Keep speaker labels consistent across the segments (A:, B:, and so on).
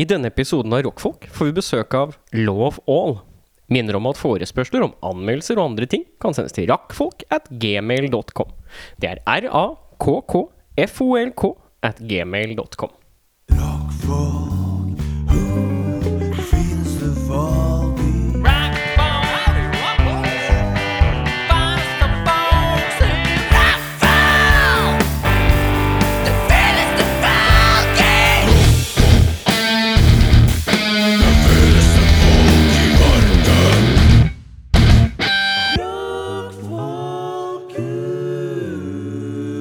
A: I denne episoden av Rockfolk får vi besøk av Love All. Minner om at forespørsler om anmeldelser og andre ting kan sendes til rakkfolk at gmail.com. Det er r-a-k-k-f-o-l-k at gmail.com.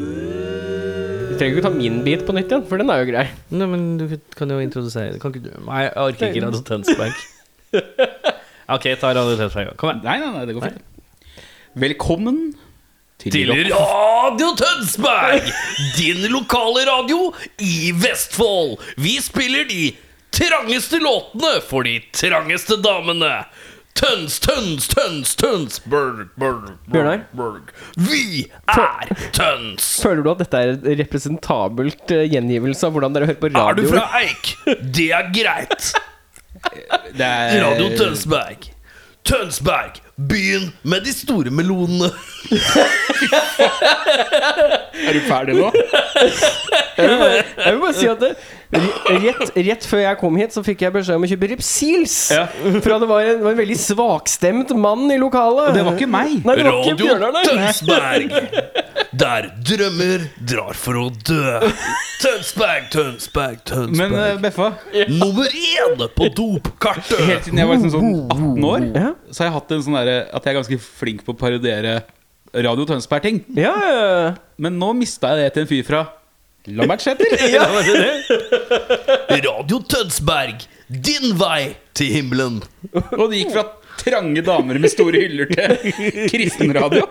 A: Vi trenger ikke ta min bit på nytt igjen, for den er jo grei.
B: Nei, men du kan jo introdusere Kan ikke du Nei, jeg orker ikke Radio Tønsberg. ok, ta Radio Tønsberg. Kom igjen.
C: Nei, nei, nei, det går fint. Velkommen til,
B: Radio Tønsberg! Din lokale radio i Vestfold. Vi spiller de trangeste låtene for de trangeste damene. Tøns, tøns, tøns, tøns, burg, burg,
A: Bjørnar?
B: burg. Vi er tøns.
A: Føler du at dette er et representabelt eh, gjengivelse av hvordan dere hører på
B: Er du
A: radio?
B: fra Eik? Det er greit.
C: Det er
B: Radio Tønsberg. Tønsberg, byen med de store melonene.
C: Er du ferdig nå?
A: Jeg vil bare si at det, rett, rett før jeg kom hit, så fikk jeg beskjed om å kjøpe Repsils.
C: Ja.
A: For at det var en, det var en veldig svakstemt mann i lokalet.
C: Og det var ikke meg.
A: Nei, det var ikke
B: Radio
A: Bjørnar, nei.
B: Tønsberg, der drømmer drar for å dø. Tønsberg, Tønsberg,
C: Men eh,
B: Tønsberg.
C: Beffa,
B: Nummer én på
C: helt
B: dopkartet.
C: siden jeg var liksom sånn 18 år,
A: Ja.
C: så har jeg hatt en sånn derre at jeg er ganske flink på å parodiere Radio Tønsberg-ting.
A: Ja, ja,
C: Men nå mista jeg det til en fyr fra Lambertseter.
A: ja.
B: Radio Tønsberg, din vei til himmelen.
C: Og det gikk fra trange damer med store hyller til kristenradio.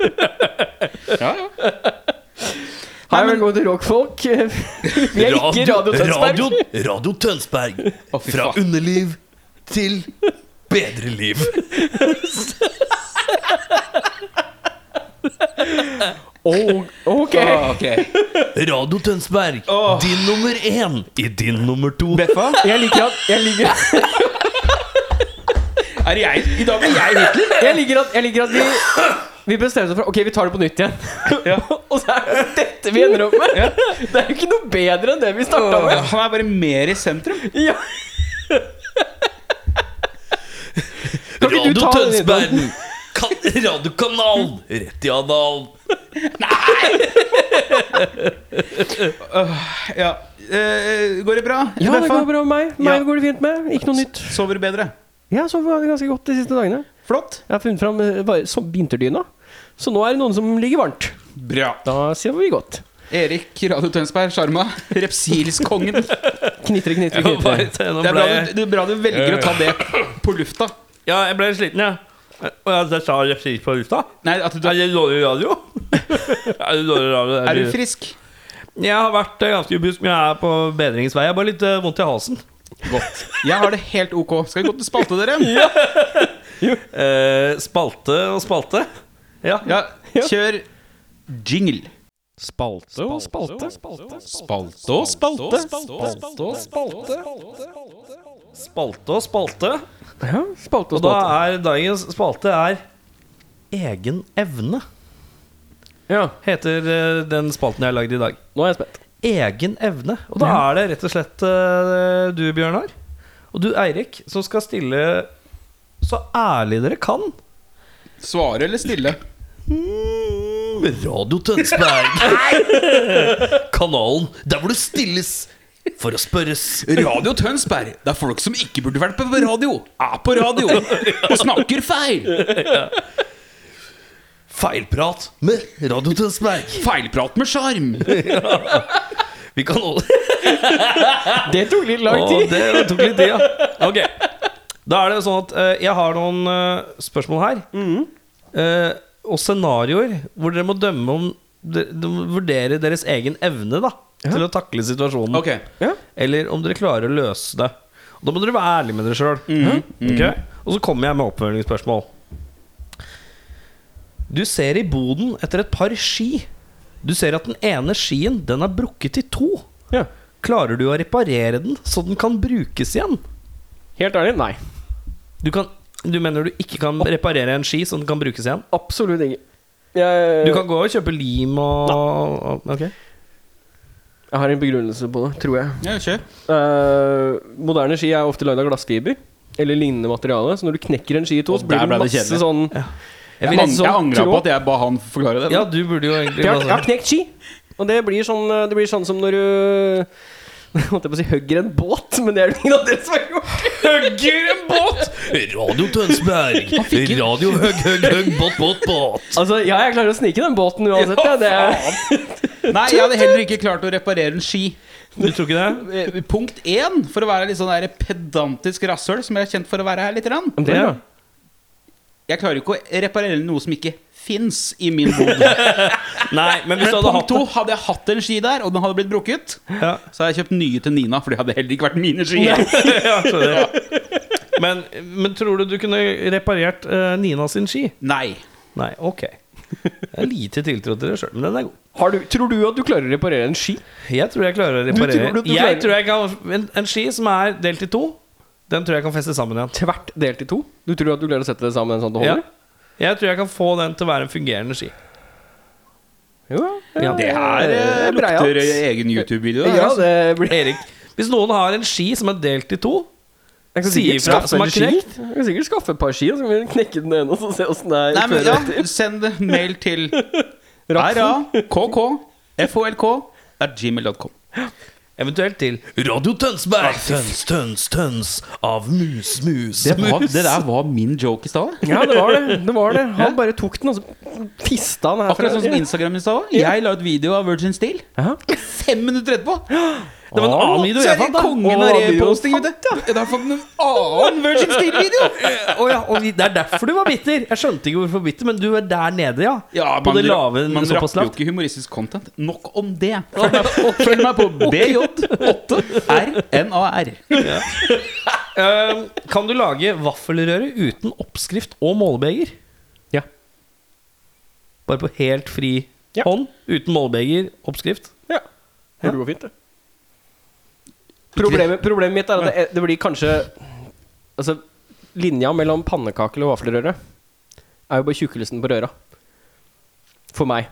C: Ja, ja.
A: Hei, velkommen til rockfolk. Vi er ikke Radio Tønsberg.
B: Radio, Radio Tønsberg.
C: Å, fy
B: Fra
C: faen.
B: underliv til bedre liv.
A: Oh, ok.
C: Ah, ok.
B: Radio Tønsberg,
C: Åh.
B: din nummer én i din nummer to.
C: Beffa,
A: Jeg liker at Jeg liker
C: er det jeg? I dag er jeg Hitler.
A: Jeg liker at, jeg liker at vi vi bestemte oss for Ok, vi tar det på nytt igjen. og så er det dette vi ender opp med! Det er jo ikke noe bedre enn det vi starta med.
C: Han er bare mer i sentrum.
A: Ja. Kan ikke
B: Radio
A: du ta den
B: Tønsberg,
A: introen?
B: kan, radiokanalen, rett i analen.
C: Ja. Eh, går det bra?
A: Ja, det
C: Beffa?
A: går bra med meg.
C: Ja.
A: Meg går det fint med. Ikke noe nytt.
C: Sover du bedre?
A: Jeg har sovet ganske godt de siste dagene.
C: Flott.
A: Jeg har funnet fram eh, bare som vinterdyna. Så nå er det noen som ligger varmt.
C: Bra.
A: Da sover vi godt.
C: Erik Radio Tønsberg, sjarma. Repsilskongen. Det
A: Knitre, knitre, knitre.
C: er bra du, det er bra du velger å ta det på lufta.
D: Ja, jeg ble sliten, jeg. Og jeg, jeg sa refsis på lufta.
C: Nei, at du
D: Er det dårlig radio? er det dårlig radio?
C: er du frisk.
D: Jeg har vært eh, ganske ubusk, men jeg er på bedringens vei. Jeg har bare litt eh, vondt i halsen.
C: Godt. Jeg har det helt ok. Skal vi gå til spalte, dere?
D: Eh, spalte og spalte. Ja.
C: Ja, kjør jingle.
A: Spalte og spalte.
C: Spalte og spalte. Spalte og spalte.
D: Spalte og spalte.
A: Ja, spalte og
D: Og da
A: spalte.
D: er dagens spalte er Egen evne,
A: Ja,
D: heter eh, den spalten jeg har lagd i dag.
A: nå er jeg spent.
D: Egen evne. Og da er det rett og slett eh, du, Bjørnar, og du, Eirik, som skal stille så ærlig dere kan
C: Svare eller stille?
B: Radio Tønsberg. Kanalen der hvor det stilles for å spørres.
C: Radio Tønsberg, det er folk som ikke burde vært på radio, er på radio og snakker feil.
B: Feilprat med Radio Tønsberg.
C: Feilprat med sjarm.
B: Vi kan holde
A: Det tok litt lang
D: Å,
A: tid.
D: det tok litt tid, ja. Ok. Da er det sånn at eh, jeg har noen eh, spørsmål her.
A: Mm-hmm.
D: Eh, og scenarioer hvor dere må dømme om de, de, Vurdere deres egen evne da til å takle situasjonen.
C: Ok.
A: Ja.
D: Eller om dere klarer å løse det. Og da må dere være ærlige med dere sjøl.
A: Mm-hmm.
D: Og så kommer jeg med oppfølgingsspørsmål. Du ser i boden etter et par ski. Du ser at den ene skien den er brukket i to.
A: Ja.
D: Klarer du å reparere den så den kan brukes igjen?
A: Helt ærlig, nei.
D: Du, kan, du mener du ikke kan reparere en ski så den kan brukes igjen?
A: Absolutt ikke.
C: Eh,
A: Jeg,
D: Du kan gå og kjøpe lim og, og ok.
A: jeg har en begrunnelse på det, tror jeg.
C: Ja, kjør.
A: Eh, moderne ski er ofte lagd av glassfiber eller lignende materiale, så når du knekker en ski i to,
C: Og
A: så
C: der
A: blir det
C: ble det
A: masse
C: kjedelig.
A: sånn
C: Jeg,
A: vil
C: sånn ang-
A: liksom
C: jeg angra
A: tro-
C: på at jeg ba han forklare det.
D: Ja, du burde jo egentlig
A: Jeg har, jeg har knekt ski, og det blir sånn, eh, det blir sånn som når du jeg holdt jeg på å si hugger en båt, men det er det ingen av dere som har gjort.
B: Hugger en båt! Radio Tønsberg. Radio høgg, høgg, høgg, båt, båt, båt.
A: Altså, ja, jeg klarer å snike den båten uansett. Ja, det er,
C: Nei, jeg hadde heller ikke klart å reparere en ski.
D: Du tror ikke det?
C: Eh, Punkt én, for å være litt sånn der pedantisk rasshøl, som jeg er kjent for å være her litt. Rann.
A: det er bra.
C: Jeg klarer ikke å reparere noe som ikke fins i min bod.
D: Nei, men hvis du hadde
C: Punkt
D: hatt
C: to, hadde jeg hatt en ski der, og den hadde blitt brukket,
D: ja.
C: så hadde jeg kjøpt nye til Nina, for det hadde heller ikke vært mine ski.
D: ja, skjønner. Men, men tror du du kunne reparert eh, Nina sin ski?
C: Nei.
D: Nei, ok. Jeg har lite tiltro til det sjøl, men den er god.
A: Har du, tror du at du klarer å reparere en ski?
D: Jeg tror jeg klarer å reparere.
A: tror du- du
D: jeg
A: klarer-
D: tror jeg kan en, en ski som er delt i to, den tror jeg kan feste sammen igjen.
A: Tvert delt i to? Du tror at du klarer å sette det sammen sånn at det
D: Ja.
A: holder?
D: Jeg tror jeg kan få den til å være en fungerende ski.
A: Jo,
D: Ja.
C: Det her eh,
A: Det er breialt.
C: lukter egen YouTube-video.
A: ja.
C: der,
A: ja,
C: altså.
A: det blir
D: Erik, hvis noen har en ski som er delt i to
A: Jeg kan
D: Si
A: sikkert
D: ifra
A: skaffe
D: som
A: en
D: er
A: ski.
D: knekt.
A: Jeg kan sikkert skaffe et par ski, og så kan vi knekke den ene og så se åssen det er.
C: Nei, men
A: før og
C: ja,
A: etter.
C: Send mail til rakkk.folk.gmail.com.
D: Eventuelt til
B: Radio Tønsberg.
D: Tøns, tøns, tøns av mus, mus,
C: Det, var- det der var min joke i stad.
A: Ja, det var det. det, var det. Han bare tok den, og så fista han herfra.
C: Akkurat sånn som Instagram i stad. Jeg la ut video av Virgin Steel.
A: Ja.
C: Fem minutter etterpå
D: Det var en annen video jeg fant. da.
C: kongen av
A: Å, videoen
C: reposting, vet du. Da fant du en annen Virgin Steel-video!
D: Å ja, og vi- Det er derfor du var bitter. Jeg skjønte ikke hvorfor bitter, men du er der nede, ja.
C: Ja,
D: På det
C: ra-
D: lave
C: man
D: såpass
C: rapper jo
D: lavt.
C: ikke humoristisk content. Nok om det. Følg meg på, følg meg på BJ8RNAR.
D: Eh, kan du lage vaffelrøre uten oppskrift og målebeger?
A: Ja.
D: Bare på helt fri
A: Ja.
D: hånd? Uten målebeger, oppskrift?
A: Ja. Det går fint, det. Problemet, problemet mitt er at det, det blir kanskje Altså, linja mellom pannekaker og vaffelrøre er jo bare tjukkelsen på røra. For meg.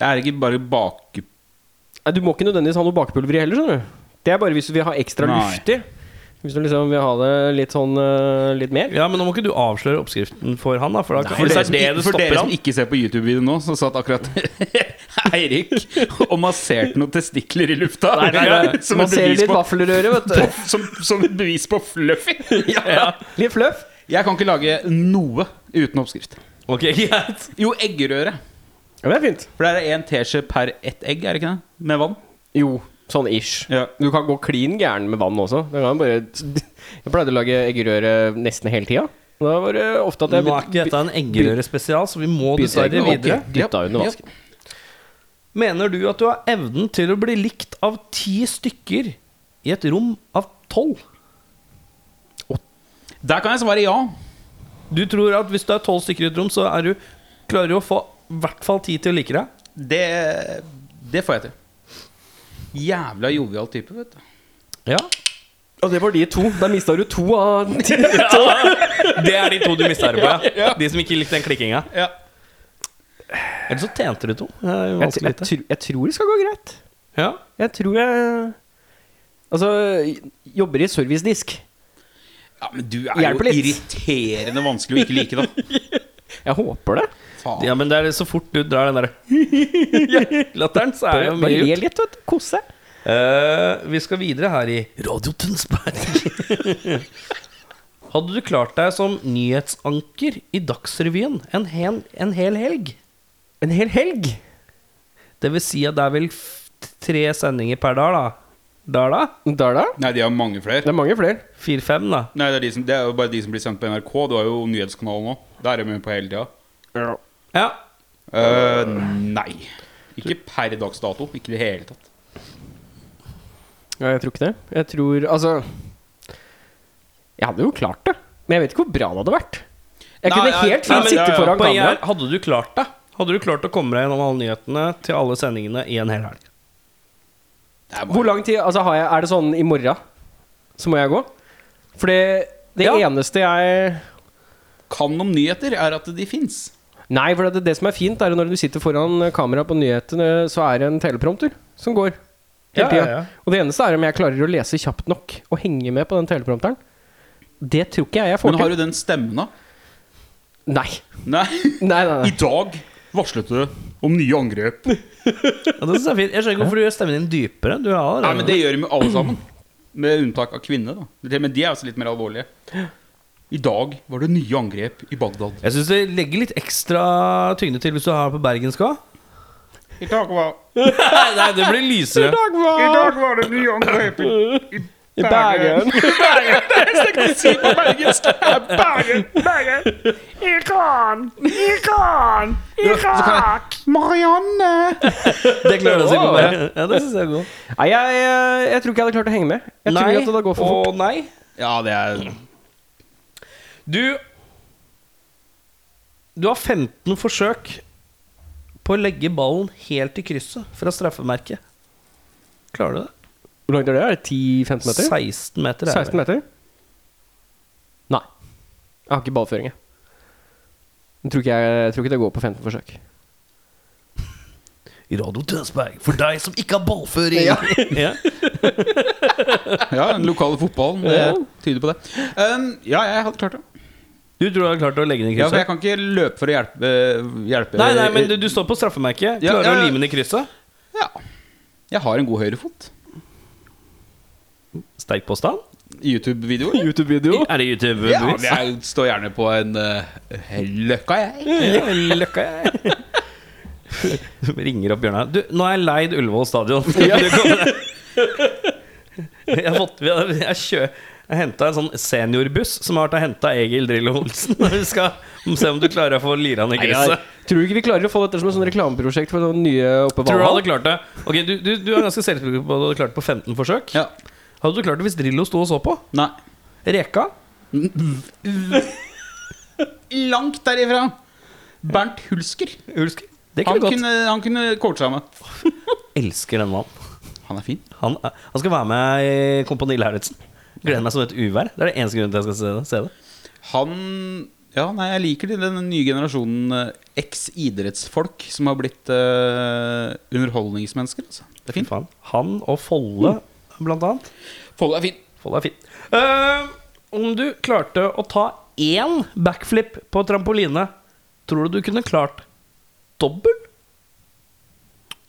C: Det er ikke bare bake...
A: Nei, Du må ikke nødvendigvis ha noe bakepulver i heller, skjønner du. Det er bare hvis du vil ha ekstra
C: Nei.
A: luftig. Hvis du liksom vil ha det litt sånn eh, litt mer.
D: Ja, men nå må ikke du avsløre oppskriften for han, da. For, da,
C: For,
D: for det er
C: dere som,
D: det du
C: for
D: stopper
C: dere som
D: han.
C: ikke ser på YouTube-videoen nå, så satt akkurat Eirik og masserte noen testikler i lufta.
A: Nei, nei, nei.
C: Som,
A: Man
C: et
A: ser
C: bevis
A: litt
C: på,
A: vaffelrøre, vet du.
C: som, som et bevis på fluffy.
A: Litt fluff.
C: Jeg kan ikke lage noe uten oppskrift.
D: Ok, greit.
C: Jo, eggerøre.
A: Ja, det er fint.
C: For det er én teskje per ett egg, er det ikke det? Med vann.
A: Jo, sånn ish.
C: Ja.
A: Du kan gå klin gæren med vann også. Du kan bare Jeg pleide å lage eggerøre nesten hele tida. Da var det ofte at
D: Nå
A: jeg
D: er ikke dette en eggerørespesial, så vi må dessverre videre.
A: Dytta under vasken.
D: Mener du at du har evnen til å bli likt av ti stykker i et rom av tolv?
C: Der kan jeg svare ja.
D: Du tror at hvis du er tolv stykker i et rom, så er du, klarer du å få i hvert fall ti til å like deg?
C: Det, det får jeg til. Jævla jovial type, vet du.
D: Ja.
A: Ja, det var de to. Der mista du to av ti.
D: Det er de to du mista her på, ja. De som ikke likte den klikkinga.
C: Ja.
D: Eller så tjente du to. Det er jo
A: Jeg,
D: vanskelig å vite.
A: tr- jeg tror det skal gå greit.
D: Ja.
A: Jeg tror jeg Altså, jobber i servicedisk.
C: Ja, men du er
A: Hjelper
C: jo
A: litt.
C: irriterende vanskelig å ikke like, da.
A: Jeg håper det.
C: Faen.
D: ja, men det er så fort du drar den der latteren, så er det jo
A: Bare
D: mye
A: le
D: gjort.
A: litt, vet du. Kose.
D: Eh, vi skal videre her i Radio Tønsberg. Hadde du klart deg som nyhetsanker i Dagsrevyen en hel, en hel helg?
A: En hel helg.
D: Det vil si at det er vel f- tre sendinger per dag, da? Der, da?
A: Der, da.
C: Nei, de har mange flere.
A: Det er mange flere.
D: Fire-fem, da?
C: Nei, det er, de som, det er jo bare de som blir sendt på NRK. Du har jo nyhetskanalen nå. Der er vi med på hele tida.
D: Ja.
C: Eh, nei. Ikke per dags dato. Ikke i det hele tatt.
A: Ja, jeg tror ikke det. Jeg tror Altså Jeg hadde jo klart det, men jeg vet ikke hvor bra det hadde vært. Jeg
C: Nei,
A: kunne
C: ja,
A: helt
C: nei,
A: fint
C: men-
A: sitte
C: ja, ja,
A: foran
D: Poenget er,
A: kameraet.
D: hadde du klart det? Hadde du klart å komme deg gjennom alle nyhetene til alle sendingene i en hel helg?
C: Jeg bare-
A: Hvor lang tid altså har jeg, Er det sånn i morgen så må jeg gå? For det, det
D: Ja.
A: eneste jeg
C: Kan om nyheter, er at de fins.
A: Nei, for det, det som er fint, er at når du sitter foran kamera på nyhetene, så er det en teleprompter som går. Hele
D: Ja,
A: tida.
D: ja, ja.
A: Og det eneste er om jeg klarer å lese kjapt nok og henge med på den teleprompteren. Det tror ikke jeg jeg får
C: Men
A: til.
C: har du den stemmen, da?
A: Nei.
C: Nei.
A: Nei, nei,
C: I
A: nei.
C: dag varslet du om nye angrep.
D: Ja, det synes jeg er fint. Jeg skjønner ikke hvorfor du gjør stemmen din dypere. Du har
C: Nei,
D: allerede
C: men Det gjør de jo alle sammen. Med unntak av kvinner. da Det- Men de er også litt mer alvorlige. I dag var det nye angrep i Bagdad.
D: Jeg syns det legger litt ekstra tyngde til hvis du har på bergensk òg.
C: I dag var,
D: Nei, nei, det blir lysere.
C: det nye angrep i,
A: I Bergen.
C: Marianne!
D: Det klarer du sikkert å være. Ja, det synes jeg er godt.
A: Nei, jeg, jeg, jeg tror ikke jeg hadde klart å henge med. Jeg tror at det går for fort.
D: og nei.
C: Ja, det er
D: Du Du har 15 forsøk på å legge ballen helt i krysset fra straffemerket. Klarer du det?
A: Hvor langt er det? Er det 10-15 meter?
D: 16 meter. er det
A: 16
D: vel.
A: meter? Nei. Jeg har ikke ballføring, jeg. Jeg tror ikke, jeg, jeg tror ikke det går på 15 forsøk.
D: I Radio Tønsberg, for deg som ikke har ballføring. Ja.
C: Ja, den lokale fotballen. Det tyder på det. Um, ja, jeg hadde klart det.
D: Du tror du har klart å legge den i
C: Ja, for
D: krysset?
C: jeg kan ikke løpe for å hjelpe, hjelpe
D: Nei, nei, men du, du står på straffemerket.
C: Ja,
D: Klarer du
C: ja,
D: å
C: ja.
D: lime den i krysset?
C: Ja. Jeg har en god høyrefot.
D: Sterk påstand.
C: YouTube-videoer.
A: YouTube-video?
D: Er det YouTube?
C: Ja,
D: bevis?
C: men jeg står gjerne på en eh, løkka, jeg.
D: Ja, Løkka, jeg. Ringer opp Bjørnar. Du, nå er jeg leid Ullevål stadion. Du kommer deg. Jeg har fått vi har- Jeg, kjø- jeg henta en sånn seniorbuss som har vært og henta Egil Drillo Olsen. Vi skal se om du klarer å få lira han i
A: Nei,
D: gresset.
A: Tror du ikke vi klarer å få dette som et sånn reklameprosjekt for den nye oppe
D: Tror du hadde
A: Valhall?
D: klart det? Ok, Du, du, du er ganske selvsikker på at du hadde klart det på 15 forsøk.
C: Ja.
D: Hadde du klart det hvis Drillo sto og så på?
C: Nei.
D: Reka?
C: Langt derifra. Bernt Hulsker.
D: Ulsk? Det
C: Han
D: kunne gått.
C: kunne, han kunne coacha meg.
D: Elsker den mannen.
C: Han er fin.
D: Han, er- han skal være med i Kompani Lauritzen. Gleder meg som et uvær. Det er det eneste grunnen til at jeg skal se det. Se det.
C: Han Ja, nei, jeg liker den, den nye generasjonen eh, eks-idrettsfolk som har blitt eh, underholdningsmennesker. Altså. Det er fint.
D: Faen. Han og Folle, blant annet.
C: Follo er fin.
D: Folle er fin. Eh, om du klarte å ta én backflip på trampoline, tror du du kunne klart dobbel?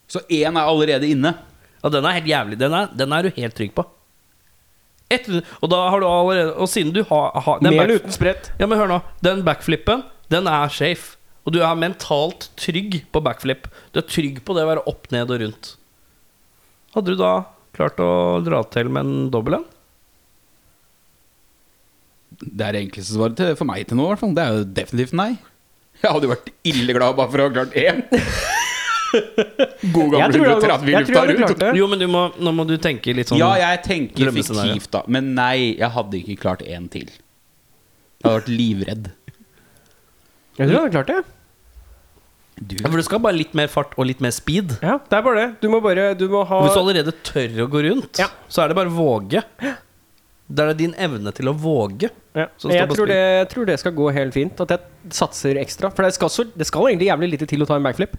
C: Så én er allerede inne.
D: Ja, den er helt jævlig. Den er, den er du helt trygg på. Et, og da har du allerede Og siden du har, har den
A: Med eller
D: back-
A: uten sprett?
D: Ja, men hør nå. Den backflippen, den er safe. Og du er mentalt trygg på backflip. Du er trygg på det å være opp, ned og rundt. Hadde du da klart å dra til med en dobbel en?
C: Det er det enkleste svaret til, for meg til nå, i hvert fall. Det er jo definitivt nei. Jeg hadde jo vært ille glad bare for å ha klart én. God
A: Jeg
C: gammel
A: tror jeg hadde-
C: 130 i
A: jeg tror
C: lufta
A: jeg hadde
C: rundt.
A: klart det.
D: Jo, men du må, nå må du tenke litt sånn
C: Ja, jeg tenker
D: Drømmescenario.
C: fiktivt, da. Men nei, jeg hadde ikke klart én til. Jeg hadde vært livredd.
A: Jeg tror jeg hadde klart det.
C: Du,
D: Ja, For du skal bare litt mer fart og litt mer speed.
A: Ja, det er bare det. Du må bare Du må ha
D: Og hvis du allerede tør å gå rundt,
A: Ja.
D: så er det bare å våge. Da er det din evne til å våge.
A: ja.
D: som står
A: jeg,
D: på
A: tror
D: spill.
A: det, jeg tror det skal gå helt fint. At jeg satser ekstra. For det skal, så, det skal egentlig jævlig lite til å ta en backflip.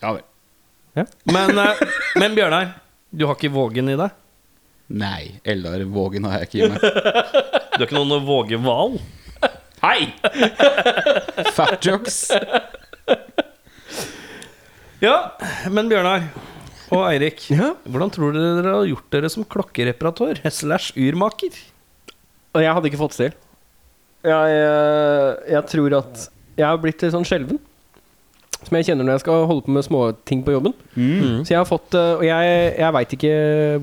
C: ja vel.
D: Men, eh, men Bjørnar, du har ikke vågen i deg.
C: Nei, Eldar Vågen har jeg ikke i meg.
D: Du er ikke noen vågehval.
C: Hei! Fat jokes.
D: Ja, men Bjørnar og Eirik,
A: Ja.
D: hvordan tror dere dere har gjort dere som klokkereparatør slash urmaker?
A: Og jeg hadde ikke fått til. Jeg, eh, jeg tror at jeg har blitt litt sånn skjelven. Som jeg kjenner når jeg skal holde på med småting på jobben.
D: Mm.
A: Så jeg har fått eh, Og jeg, jeg veit ikke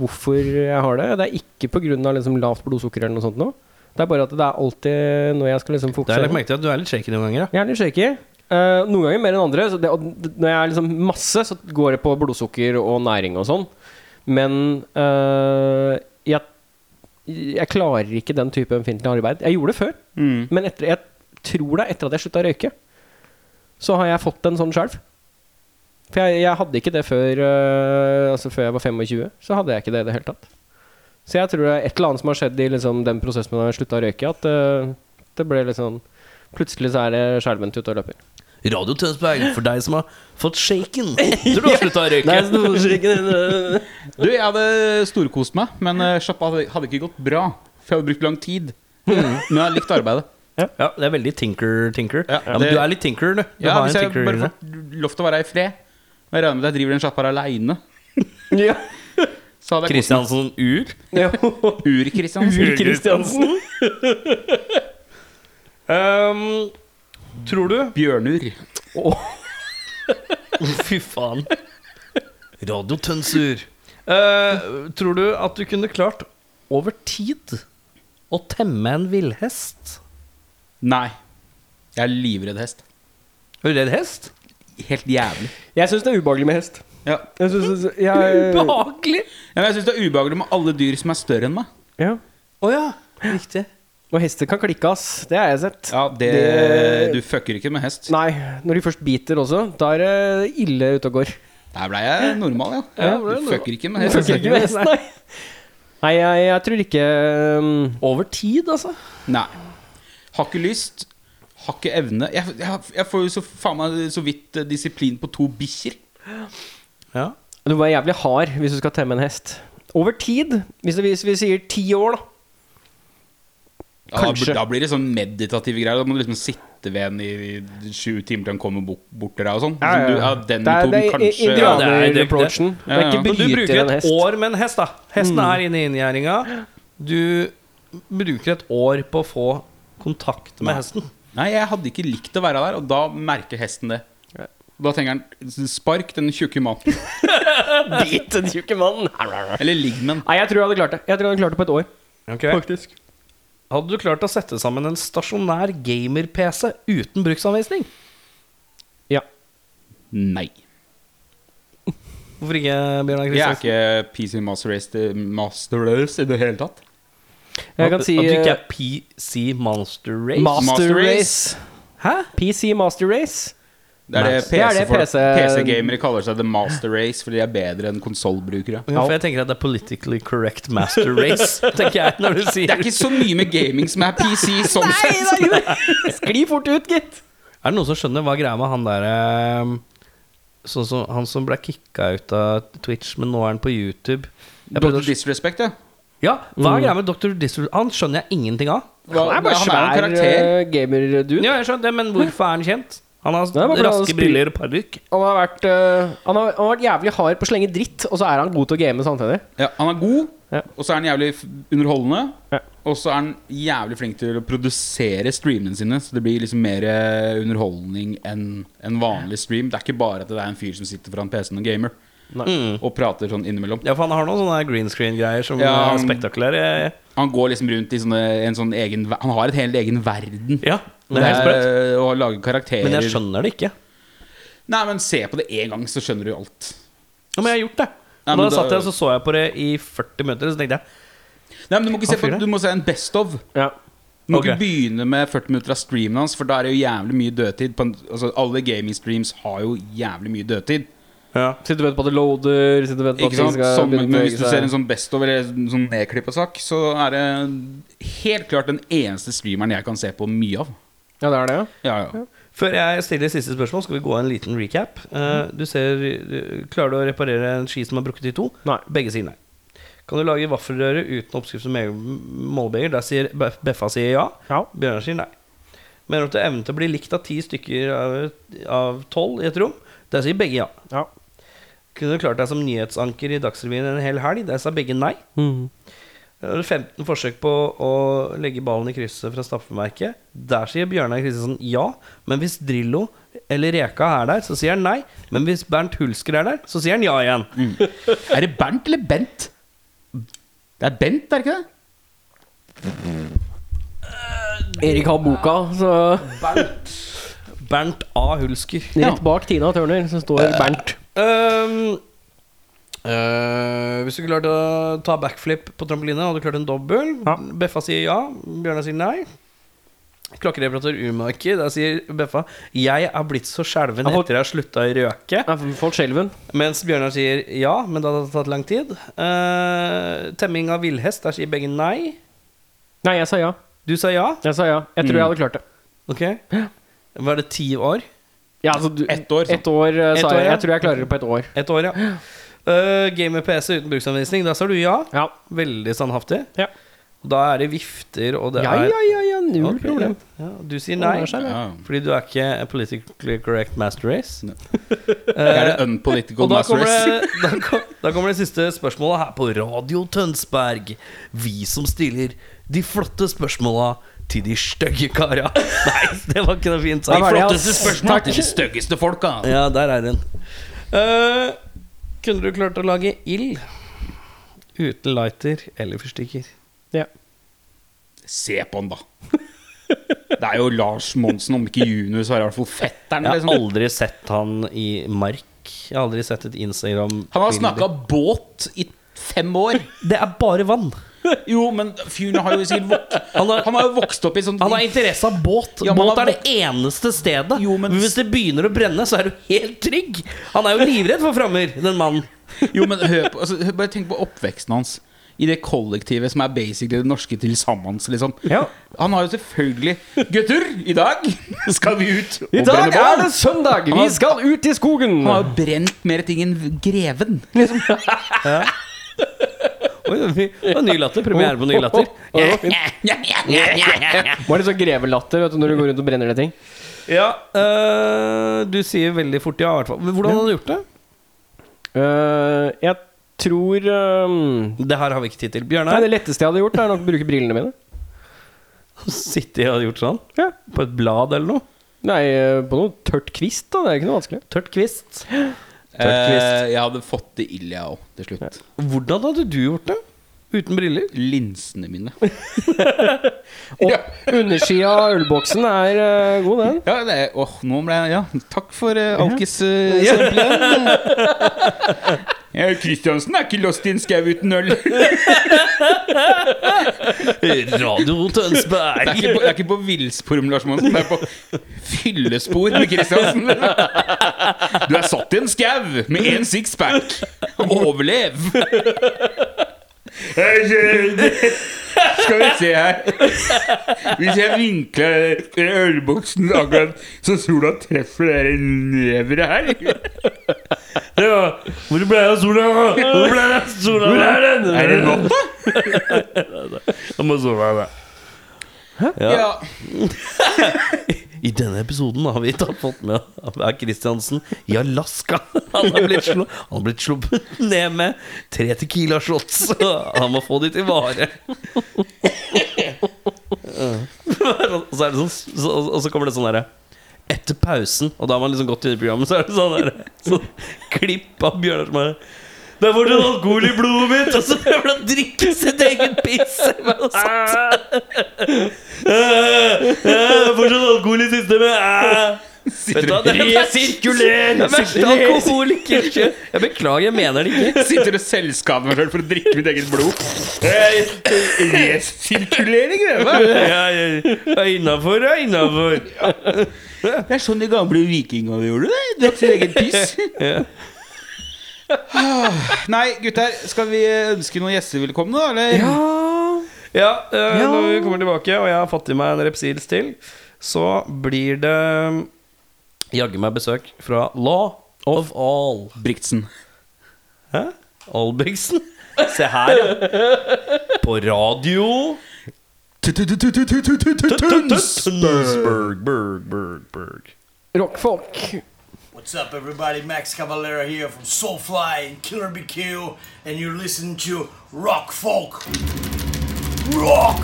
A: hvorfor jeg har det. Det er ikke pga. Liksom lavt blodsukker eller noe sånt. Nå. Det er bare at det er alltid når jeg skal liksom
D: Det har jeg
A: fokusere
D: lagt merke til at du er litt shaky noen ganger. Ja.
A: Jeg er litt shaky. Eh, noen ganger mer enn andre. Så det, og d- når jeg er liksom masse, så går det på blodsukker og næring og sånn. Men eh, jeg, jeg klarer ikke den type ømfintlig arbeid. Jeg gjorde det før, men etter, jeg tror det er etter at jeg slutta å røyke, så har jeg fått en sånn skjelv. For jeg, jeg hadde ikke det før øh, Altså før jeg var 25. Så hadde jeg ikke det i det hele tatt. Så jeg tror det er et eller annet som har skjedd i liksom, den prosessen med da jeg slutta å røyke, at øh, det ble litt sånn Plutselig så er det skjelvent ute og løper.
B: Radio Tønsberg, for deg som har fått shaken etter du har slutta å røyke.
C: Du, jeg hadde storkost meg, men eh, sjappa hadde, hadde ikke gått bra. For jeg hadde brukt lang tid.
D: Mm.
C: Men jeg hadde likt arbeidet.
D: Ja, det er veldig tinker-tinker. Ja,
C: Ja,
D: men
C: det-
D: du er litt tinker, du. du
C: Ja,
D: har
C: Hvis
D: en
C: jeg
D: tinker
C: bare får lov til å være her i fred. Og jeg regner med at jeg driver den sjappa her aleine.
A: ja.
C: Så hadde jeg kost
D: Kristiansen Ur.
A: ja.
C: meg. Ur Kristiansen.
A: Ur Kristiansen.
D: Ehm, tror du
C: Bjørnur.
D: Fy faen.
B: Radio Tønsur.
D: Eh, tror du at du kunne klart over tid å temme en villhest?
C: Nei. Jeg er livredd hest.
D: Er du redd hest?
C: Helt jævlig.
A: Jeg syns det er ubehagelig med hest.
C: Ja.
A: Jeg synes, jeg,
D: Behagelig!
C: Ja, men jeg syns det er ubehagelig med alle dyr som er større enn meg.
A: ja.
D: Å ja, riktig.
A: Og hester kan klikke, ass. Det har jeg sett.
C: Ja, det,
A: Det-
C: Du fucker ikke med hest.
A: Nei, når de først biter også, da er det ille ute og går.
C: Der ble jeg normal, ja.
D: Ja, ble
C: du
D: normal.
C: fucker ikke med
A: Jeg
C: hest.
A: snakker ikke med hest, nei. Nei, jeg, jeg tror ikke um,
D: Over tid, altså.
C: Nei. Har ikke lyst. Har ikke evne. Jeg, jeg, jeg får jo så faen meg så vidt eh, disiplin på to bikkjer.
D: Ja.
A: Du må være jævlig hard hvis du skal temme en hest. Over tid, hvis, vi- hvis vi sier ti år, da.
C: Ja, da-
A: Kanskje.
C: Da blir det sånn meditative greier. Da må du liksom sitte ved en i, i sju timer til han kommer bort, bort til deg og sånn.
A: Ja, ja,
C: Liksom,
A: ja.
C: du, ja, den
A: Det er- det
C: metoden
A: er
C: kanskje
A: indianer-
C: ja,
A: Ja, det er
D: det-
A: approachen.
C: Ja, ja.
A: Det er ikke
D: Men du
A: bryter
D: bruker
A: en
D: et
A: hest.
D: år med en hest, da. Hesten er inne i inngjerdinga. Du bruker et år på å få kontakt med hesten.
C: Nei, jeg hadde ikke likt å være der, og da merker hesten det. Da tenker han Spark den tjukke maten.
A: Bit den tjukke mannen.
C: Eller ligg med den.
A: Nei, jeg tror jeg hadde klart det. Jeg tror jeg hadde klart det på et år.
D: Faktisk. Hadde du klart å sette sammen en stasjonær gamer-PC uten bruksanvisning?
A: Ja.
C: Nei.
D: Hvorfor ikke, Bjørnar
C: Jeg er
D: Kristiansen?
C: ikke PC Master Race til Master Race i det hele tatt.
A: Jeg kan si
D: At du ikke
A: eh,
D: er PC Monster Race?
A: Master
C: Master
A: Race.
D: Hæ?
A: PC Master Race.
C: Det er det
A: Det er det
C: PC-gamere
A: PC
C: kaller seg The Master Race fordi de er bedre enn konsollbrukere.
D: Ja, for jeg tenker at det er politically correct master race, tenker jeg når du sier
C: Det er ikke så mye med gaming som er PC sånn sett.
A: Skli fort ut, gitt.
D: Er det noen som skjønner hva greia med han derre Sånn som han som ble kicka ut av Twitch, men nå er han på YouTube. Jeg prøvde
C: Dr.
D: å sk-
C: Disrespect, ja.
D: ja, hva er greia med Dr. Disrespect? Han skjønner jeg ingenting av.
C: Hva,
A: Han er bare
C: han er jo en
A: svær
C: karakter.
A: eh, gamer-dude.
D: Ja, jeg skjønner det, Men hvorfor er han kjent? Han har
A: er bare fordi han
D: raske
A: spiller-
D: briller og parykk.
A: Han har, vært, øh, han, har, han har vært jævlig hard på å slenge dritt, og så er han god til å game samtidig.
C: Ja, han er god,
A: Ja.
C: og så er han jævlig f- underholdende.
A: Ja.
C: Og så er han jævlig flink til å produsere streamene sine, så det blir liksom mer eh, underholdning enn en vanlig stream. Det er ikke bare at det er en fyr som sitter foran PC-en og gamer
D: Mm.
C: og prater sånn innimellom.
D: Ja, for han har noen sånne green screen-greier som
C: Ja,
D: er
C: han-
D: spektakulære.
C: Han går liksom rundt i sånne, en sånn egen ver- Han har et helt egen verden.
D: Ja, det er helt sprøtt.
C: er, og lager karakterer
D: Men jeg skjønner det ikke.
C: Nei, men se på det én gang, så skjønner du alt.
D: Ja, men jeg har gjort det.
C: Ja,
D: Og da
C: men da-
D: satt jeg og så, så jeg på det i 40 minutter, og så tenkte jeg
C: Nei, men Du må ikke
D: Han
C: se på
D: fyren.
C: Du må se en best of.
A: Ja.
C: Du må
D: Ok.
C: ikke begynne med 40 minutter av streamen hans, for da er det jo jævlig mye dødtid. På en, altså, alle gaming-streams har jo jævlig mye dødtid.
D: ja.
A: Sitter og venter på at det loader. Sitter og venter på at
C: Ikke
A: ting
C: sant?
A: skal
C: Som,
A: begynne å
C: men hvis
A: bevege
C: du ser en
A: seg.
C: sånn best of eller en sånn nedklippa sak, så er det helt klart den eneste streameren jeg kan se på mye av.
A: Ja, det er det, ja.
C: Ja, ja.
D: Før jeg stiller siste spørsmål, skal vi gå en liten recap. Eh, du ser eh, Klarer du å reparere en ski som er brukket i to?
A: Nei.
D: Begge sier nei. Kan du lage vaffelrøre uten oppskrift som egen målbeger? Der sier Be- Beffa sier ja.
A: ja.
D: Bjørnar sier nei. Mener du at evnen til å bli likt av ti stykker av- av tolv i et rom? Der sier begge ja.
A: ja.
D: Kunne du klart deg som nyhetsanker i Dagsrevyen en hel helg? Der sa begge nei.
A: Mm.
D: Da har du 15 forsøk på å legge ballen i krysset fra straffemerket. Der sier Bjørnar Kristiansen ja, men hvis Drillo eller Reka er der, så sier han nei. Men hvis Bernt Hulsker er der, så sier han ja igjen.
C: Er det Bernt eller Bent? Det er Bent, er det ikke det?
A: Erik har boka, så
D: Bernt A. Hulsker.
A: rett bak Tina Turner så står
D: Eh.
A: Bernt.
D: Øhm, øh, Ehm, hvis du klarte å ta backflip på trampoline, hadde du klart en dobbel. Beffa sier ja, Bjørnar sier nei. Klokkereparatør Umaki, der sier Beffa Jeg er blitt så skjelven
A: Jeg får-
D: etter jeg slutta i røke.
A: Nei, for folk skjelven.
D: Mens Bjørnar sier ja, men det hadde tatt lang tid. Eh, temming av villhest, der sier begge nei.
A: Nei, jeg sa ja.
D: Du sa ja.
A: Jeg sa ja. Jeg
D: Mm.
A: tror jeg hadde klart det.
D: Ok. Var det ti år?
A: Ja, altså, du,
C: Ett år, sånn.
A: Ett år, eh,
D: Ett
A: sa
D: år,
A: jeg.
D: ja.
A: Jeg tror jeg klarer det på ett år.
D: Et år, ja. Uh, Game med PC uten bruksanvisning, da sa du ja.
A: Ja.
D: Veldig standhaftig.
A: Ja.
D: Da er det vifter, og det
A: Ja,
D: er
A: ja, ja, ja, null
D: Ok,
A: problem.
D: Ja. Du sier nei,
A: Ordner seg, det.
C: Ja.
D: fordi du er ikke a politically correct master race.
C: Er det unpolitical
D: Eh, Og da
C: master
D: kommer,
C: race?
D: det, da, kom, da kommer det siste spørsmålet her på Radio Tønsberg. Vi som stiller de flotte spørsmåla til de stygge kara. Nei, det var ikke noe fint
A: Hva
D: sagt.
A: var det,
C: Flotteste
A: ass?
C: spørsmål
A: Takk.
C: til de styggeste folka.
D: Ja, der er den. Eh, kunne du klart å lage ild uten lighter eller fyrstikker?
A: Ja.
C: Se på han, da. Det er jo Lars Monsen, om ikke junior, så er det i hvert fall fetteren.
D: Jeg har
C: Liksom.
D: aldri sett han i mark. Jeg har aldri sett et Instagram
C: Han har snakka båt i fem år.
D: Det er bare vann.
C: Jo, men fyren har jo sikkert vok
D: Han har-
C: Han har jo vokst opp i sånn
D: Han har interesse av båt.
C: Ja, men
D: båt
C: han-
D: er det eneste stedet.
C: Jo, men-
D: men... Hvis det begynner å brenne, så er du helt trygg. Han er jo livredd for frammer, den mannen.
C: Jo, men hør på altså, hør- Bare tenk på oppveksten hans I det kollektivet som er basically det norske til sammen liksom.
A: Ja.
C: Han har jo selvfølgelig Gutter, i dag skal vi ut og
A: I dag
C: brenne bål!»
A: er det søndag! Vi
C: Han har-
A: skal ut i skogen!
C: Han har jo brent mer ting enn greven
D: Oi, det var ny latter. Premiere på ny latter.
A: Var det sånn grevelatter vet du, når du går rundt og brenner ned ting?
D: Ja, øh, du sier veldig fort ja, i hvert fall. Men Hvordan har du gjort det?
A: Øh, jeg tror øhm,
D: Det her har vi ikke tid til.
A: Nei,
D: Bjørnar
A: det letteste jeg hadde gjort, er nok å bruke brillene mine.
D: sitter og har gjort sånn.
A: Ja.
D: På et blad eller noe.
A: Nei, øh, på noe tørt kvist, da. Det er ikke noe vanskelig.
D: Tørt kvist.
C: Eh, Jeg hadde fått det ille jeg også til slutt
D: Hvordan hadde du gjort det? Uten briller?
C: Linsene mine
A: Og undersida av ølboksen er øh, god, den.
C: Ja, det er Åh, nå ble jeg Ja, takk for uh, Alkes eh, eksempelet. Ja, Kristiansen er ikke lost i en skau uten øl Det
B: Radio Tønsberg.
C: er ikke på, det er ikke på villsporum, Lars Monsen. Det er på fyllespor med Kristiansen. Du er satt i en skau med én sixpack. Overlev! Skal vi se her Hvis jeg vinkler ølboksen akkurat så sola treffer det neveret her
B: Hvor ble det av sola? Hvor ble det av sola? Hvor er den?
C: Er det godt, da?
B: Jeg må sove her, da.
C: Ja.
D: I denne episoden har vi tatt fått med av Kristiansen i Alaska. Han har blitt, slå, han har blitt sluppet ned med tre Tequila shots. Han må få de til vare. Og så, er det sånn, så, og så kommer det sånn derre Etter pausen, og da har man liksom gått inn i programmet, så er det sånn derre sånn, klipp av Bjørnar som er Det er fortsatt alkohol i blodet mitt! Og så prøver han å drikke sitt eget piss! Men så- "Eh, Fortsatt alkohol i systemet. Vet du hva, det er
A: Resirkuler!
D: det verste alkoholiker Jeg beklager, jeg mener det ikke.
C: Sitter og selvskader meg selv for å drikke mitt eget blod. Resirkulering, det.
D: Det er innafor, det er innafor.
C: Det er sånn de gamle vikingene gjorde det. Drakk sin egen piss. Ah, Nei, gutter, skal vi ønske noen gjester velkomne, da? Eller?
D: Ja, eh, når vi kommer tilbake, og jeg har fått i meg en Repsils til, så blir det jaggu meg besøk fra Law of All.
C: Brigtsen.
D: Hæ? Albrigtsen? Se her, ja. På radio Tønsberg, Berg, Berg, Berg.
A: Rockfolk.
E: What's up, everybody? Max Cavalera here from Soulfly and Killer BQ, and you're listening to Rock Folk. Rock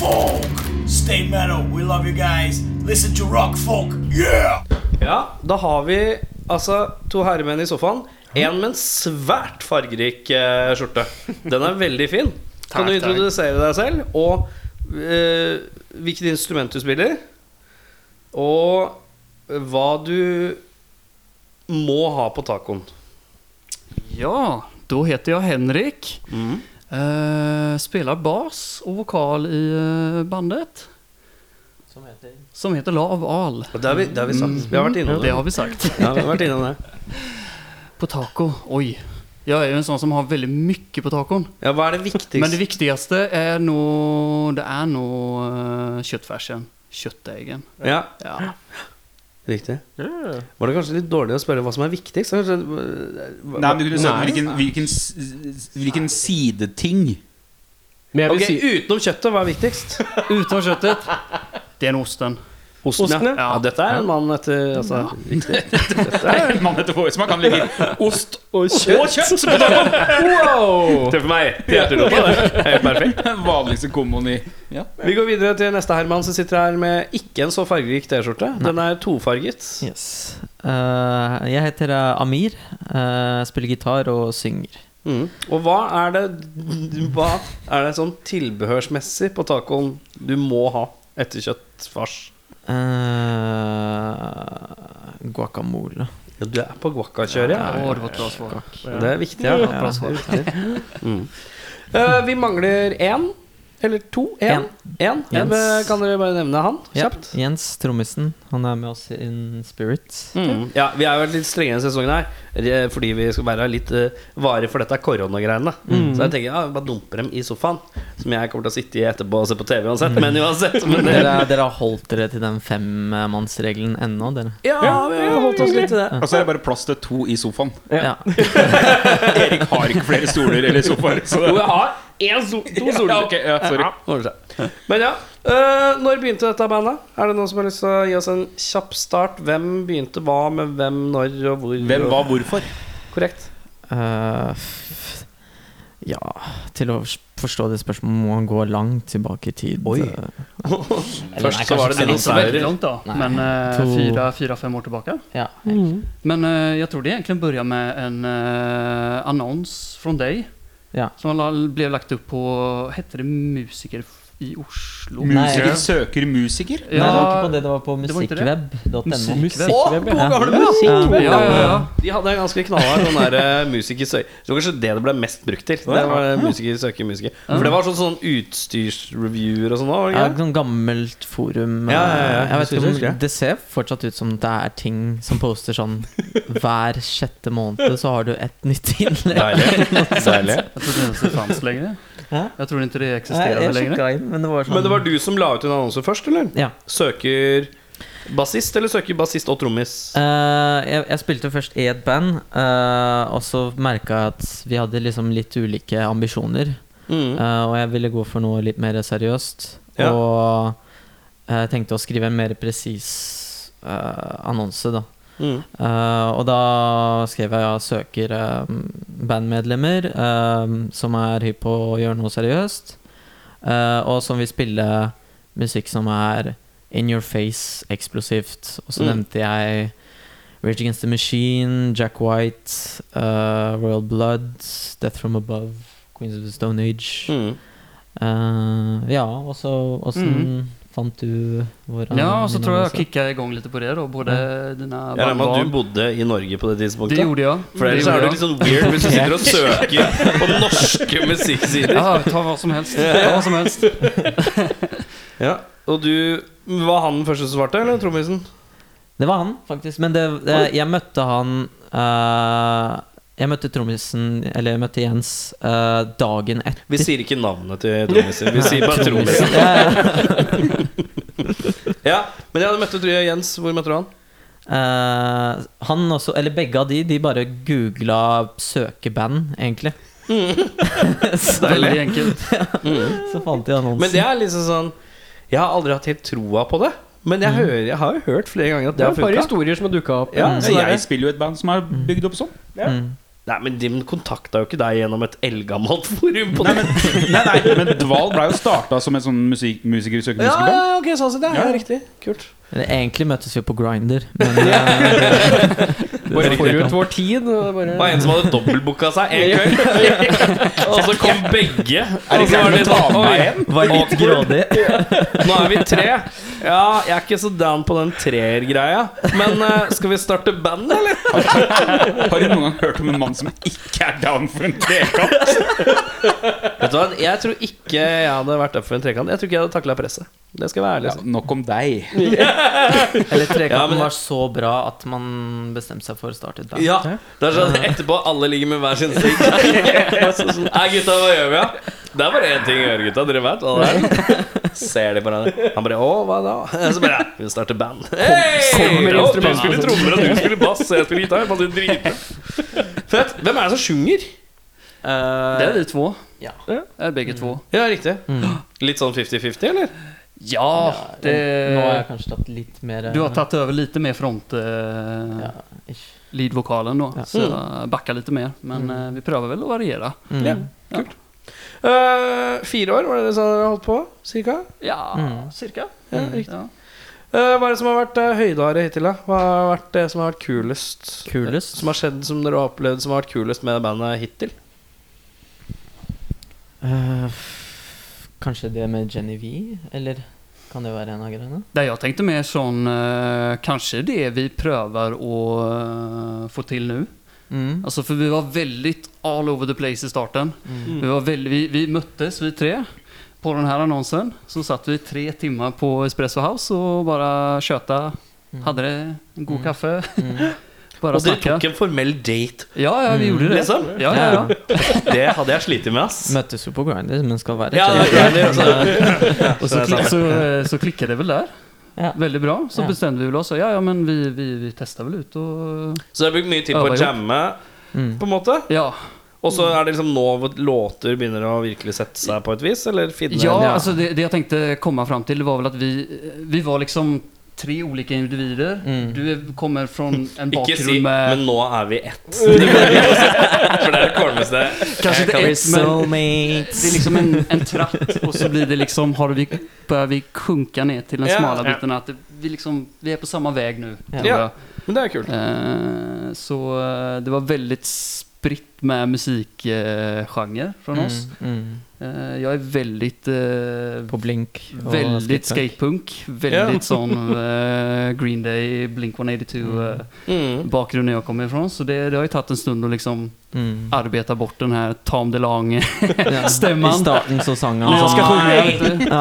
E: Folk! Stay metal, we love you guys. Listen to Rock Folk, yeah!
D: Ja, da har vi altså to herremenn i sofaen. En med en svært fargerik eh, skjorte. Den er veldig fin. Kan du introdusere deg selv, og eh, hvilket instrument du spiller, og hva du må ha på tacoen.
F: Ja, då heter jag Henrik.
D: Mm.
F: Eh, spelar bas och vokal i eh, bandet. Som heter Lav Al.
D: Og det har vi, det har vi sagt. Vi har vært innom
F: Det
D: det.
F: har vi sagt.
D: Ja, vi har vært innom det.
F: På taco. Oi. Jag är ju en sån som har väldigt mycket på tacon.
D: Ja, hva er det
F: Men
D: viktigste?
F: det viktigaste är nog, det är nog eh, köttfärsen. Köttäggen.
D: Ja,
F: Ja.
D: riktig. Var det kanskje litt dårlig å spørre hva som er viktigst? Kanskje,
C: Nei, men du kunne sagt hvilken, hvilken, s- hvilken sideting
A: Men jeg vil
D: ok,
A: si
D: utenom kjøttet, hva er viktigst?
F: Utom köttet, det är en osten.
D: Osten, ja.
F: Ja.
D: ja. Dette er en mann etter altså,
C: En mann etter forrige smak kan legge
A: ost og kjøtt.
C: Og kjøtt! på toppen.
A: Wow!
D: Treffer meg til hjerterommet. det er Helt perfekt.
C: Den vanligste komboen i ja.
D: Vi går videre til neste Herman, som sitter her med ikke en så fargerik T-skjorte. Den er tofarget.
G: Yes. Eh, jeg heter eh, Amir. eh, spiller gitar og synger.
D: Mm. Og hva er det Hva er det sånn tilbehørsmessig på tacoen du må ha etter kjøttfars?
G: Eh, guacamole.
D: Ja, du er på guacakjøret,
F: Åh,
D: ja.
F: det var ett bra svar.
D: Det er viktig. Ja.
F: Bra svar.
D: Eh, vi mangler én. Eller to. Én. Én.
G: Jens.
D: Eh, Kan dere bare nevne han
G: Ja,
D: kjapt?
G: Jens Trommisen. Han er med oss in spirit.
D: Mm. Ja, vi er jo litt strenge denne sesongen her eh, fordi vi skal være litt eh, vare for dette koronagreiene. Så jeg tenker ja, vi bare dumper dem i sofaen, som jeg kommer til å sitte i etterpå og se på TV uansett. Men uansett men det,
G: Dere, dere har holdt dere til den femmannsregelen ennå, dere?
D: Ja, vi har holdt oss litt til det.
C: Og så er det bare plass til to i sofaen.
G: Ja.
C: Erik har ikke flere stoler eller sofaer. Så det.
D: Jo, jeg har én sol, to soler.
C: Ja, ok, ja, sorry.
D: Ordner seg. Men ja, øh, når begynte dette bandet? Er det noen som har lyst til å gi oss en kjapp start? Hvem begynte hva med hvem, når og hvor?
C: Hvem,
D: og-
C: hva, hvorfor?
D: Korrekt.
G: Eh, f- ja Til å forstå det spørsmålet må man gå langt tilbake i tid.
D: Oi.
G: Eh,
D: Først så var det
F: Det är inte så väldigt
D: dinosaurer.
F: långt då, men eh,
G: Två.
F: fyra, fyra, fem år tillbaka.
G: Ja.
F: Men eh, jag tror det egentligen börjar med en eh, annons från dig.
G: Ja.
F: Som la- blev lagt upp på, hette det Musiker i Oslo?
C: Musiker søker musiker.
G: Nei, det var ikke på det, det var på
F: det var ikke det.
G: musikkveb.no.
F: Musikkveb.
G: Musikkveb,
F: Ja, ja, ja.
D: De hadde en ganske knallhard sånn der eh, musiker søker Det var kanskje det det ble mest brukt til. Det var eh, musiker søker musiker For det var sånn, sånn utstyrsreviewer og sånn òg, var det
G: Ja,
D: ikke
G: et
D: det?
G: sånt gammelt forum.
D: Ja, ja, ja.
G: eh, Jeg vet
D: Husker jeg,
G: ikke
D: husker
G: om
D: jeg.
G: Det ser fortsatt ut som det er ting som poster sånn hver sjette måned, så har du et nytt innlegg.
D: Deilig. Deilig.
F: Jag tror inte ens det fanns längre.
G: Hæ?
F: Jag tror inte det
G: Nei,
F: existerade
G: jeg
F: längre.
G: sjekka inn, men det var sånn
D: Men det var du som la ut en annonse først, eller?
G: Ja.
D: Søker bassist, eller søker bassist og trommis?
G: Eh, jeg, jeg spilte først i et band, eh, og så merka jeg at vi hadde liksom litt ulike ambisjoner.
D: Mm.
G: Eh, og jeg ville gå for noe litt mer seriøst.
D: Ja.
G: Og eh, jeg tenkte å skrive en mer presis eh, annonse, da.
D: Mm.
G: Eh, og da skrev jeg ja, søker eh, bandmedlemmer eh, som er hypp på å gjøre noe seriøst, eh, og som vil spille musikk som er in your face, eksplosivt. Og så
D: Mm.
G: nevnte jeg Rage Against the Machine, Jack White, eh, Royal Blood, Death From Above, Queens of the Stone Age.
D: Mm.
G: Eh, ja, og så åssen
F: Mm.
G: fant du våre
F: Ja, och så
G: min
F: tror jag jag
G: annonse?
F: kickade igång lite på det då, både dina
D: Jeg regner med at du
F: bandval.
D: bodde i Norge på det
F: Det
D: tidspunktet?
F: gjorde jag.
D: For ellers
F: gjorde
D: er det
F: jag.
D: litt sånn weird hvis du sitter og søker på norske musikksider.
F: Ja, ta vad som helst. Ta vad som helst.
D: Ja. Og du Var han den første som svarte, eller trommisen?
G: Det var han, faktisk. Men det, det, jeg møtte han eh, Jeg møtte trommisen, eller jeg møtte Jens, eh, dagen etter.
D: Vi sier ikke navnet til trommisen. Vi sier bare trommisen.
G: Ja,
D: Ja, Men jeg møtte du Jens. Hvor møtte du han?
G: ja. Eh, han også, eller begge av de, de bare googla 'søkeband', egentlig. så,
F: Väldigt enkelt.
G: så fant de annonsen.
D: Men det er liksom sånn Jeg har aldri hatt helt troa på det. Men jeg, hører, jeg har jo hørt flere ganger at
A: Det
D: det
A: er
D: har
A: et par
D: funka.
A: historier som har dukka opp.
D: Ja, så det er-
C: Mm. Jeg spiller jo i et band som er bygd opp sånn.
G: mm.
D: Nei, men de kontakta jo ikke deg gjennom et eldgammelt forum på det.
C: Nei, nei, men Dval ble jo starta som et sånn musik musiker søker
D: Ja,
C: musikerband.
D: ja, ok, sånn sett. Ja, ja, riktig. Kult.
G: Eller Egentlig møttes vi på Grinder, men eh,
A: Bare forut vår tid. og det Bare...
D: Det var en som hadde dobbeltbooka seg en kveld, og så kom begge.
C: Er det ikke
D: Og så var sånn,
C: greit å ta med
D: Oi.
C: en?
G: var litt grådig.
D: Nå er vi tre. Ja, jeg er ikke så down på den treer-greia. Men eh, skal vi starte band, eller?
C: Har du noen gang hørt om en mann som ikke er down for en trekamp?
D: Vet du hva, Jeg tror ikke jeg hadde vært up for en trekant. Jeg tror ikke jeg hadde takla presset. Det skal jeg være ærlig
C: Ja,
D: og si.
C: nok om deg.
G: Eller trekanten
B: Ja, men-
G: var så bra at man bestemte seg for å starte et band.
B: Ja, det er sånn etterpå alle ligger med hver sin sigg. Så sånn, Nei, gutta, hva gjør vi, da? Det er bare én ting å gjøre, gutta. Dere vet hva det er. Ser de på hverandre. Han bare 'Å, hva da?' Eh, Så bare «Ja, 'Vi starter band'. Hey!
A: Kommer
B: Å, Du
A: instrumentet.
B: spiller trommer, og du spiller bass, og jeg spiller gitar. Fant du dritbra. Fett. Hvem er det som sjunger?
G: Eh,
F: Det er de två.
G: Ja. Mm.
F: Det er begge to.
B: Ja, riktig. Litt sånn 50-50, eller?
F: Ja,
G: Nå har jeg
F: det
G: kanskje tatt litt mer eh,
F: Du har tatt over litt mer front eh,
G: ja, ish.
F: lead-vokalen da,
G: Ja.
F: så jeg backar litt mer. Men eh, vi prøver vel å variere.
G: Mm.
D: Ja. Eh, fire år var det det dere holdt på? Cirka?
F: Ja,
G: Mm.
F: cirka.
D: Ja, riktig.
F: Ja.
D: Eh, hva er det som har vært uh, høydehare hittil, da? Hva har vært det som har vært kulest?
G: Kulest?
D: Som har skjedd, som dere har opplevd som har vært kulest med bandet hittil?
G: Eh, f- kanskje det med Jenny V, eller kan det være en av greiene?
F: Det jeg tenkte mer sånn eh, Kanskje det vi prøver å eh, få til nå.
G: Mm.
F: Alltså för vi var väldigt all over the place i starten.
G: Mm.
F: Vi, var väldigt, vi, vi möttes, vi tre, på den här annonsen. Så satt vi tre timmar på Espresso House och bara tjöta.
G: Mm.
F: Hade det, en god kaffe.
G: Mm.
F: bara
B: Og dere
F: snacka.
B: tok en formell date,
F: Ja, ja, vi gjorde det.
B: liksom?
F: Ja, ja, ja.
B: Det hadde jeg slitt med, ass.
G: Møttes jo på Grindr, men skal være
B: Ja,
G: kjent.
B: det er det,
F: Och så, klick, så, eh, så klickade det väl där.
G: Ja.
F: Väldigt bra. Så
G: Ja.
F: bestämde vi väl oss. Ja, ja, men vi, vi, vi testar väl ut och...
B: Så jeg har brukt mye tid på å
F: Øver jo.
B: jamme,
G: Mm.
B: på en måte.
F: Ja,
B: Og så er det liksom nå hvor låter begynner å virkelig sette seg på et vis? Eller finne
F: Ja,
G: Ja.
F: alltså det, det jag tänkte komma fram till var väl att vi, vi var liksom tre olika individer.
G: Mm.
F: Du är- kommer från en
B: Ikke si
F: bakgrund
B: 'men
F: med...
B: nå er vi ett'. For det er det kålmeste jeg
F: Kanske inte
B: kan-
F: ett, men det
G: Soulmates.
F: är liksom en, en tratt och så blir det liksom, har vi, börjar vi sjunka ner till den
B: Ja,
F: smala
B: ja.
F: biten. At det, vi, liksom, vi är på samma väg nu.
G: Ja.
F: tror jag.
B: Men det er kult.
F: Eh, så eh, det var väldigt spritt med musikgenre eh, genre från oss.
G: Mm. Mm.
F: Eh, jag är väldigt... Eh,
G: På blink. og
F: Väldigt
G: skatepunk.
F: skatepunk, väldigt sån eh, Green Day, Blink 182 eh,
B: Mm.
F: bakgrunden jag kommer ifrån. Så det, det har ju tagit en stund att liksom
G: Mm.
F: arbeta bort den här Tom DeLonge. Liksom, eh,
G: Ja.
F: Stämman.
G: I starten så sang han
F: Jag ska
G: sånn
F: sjunga lite.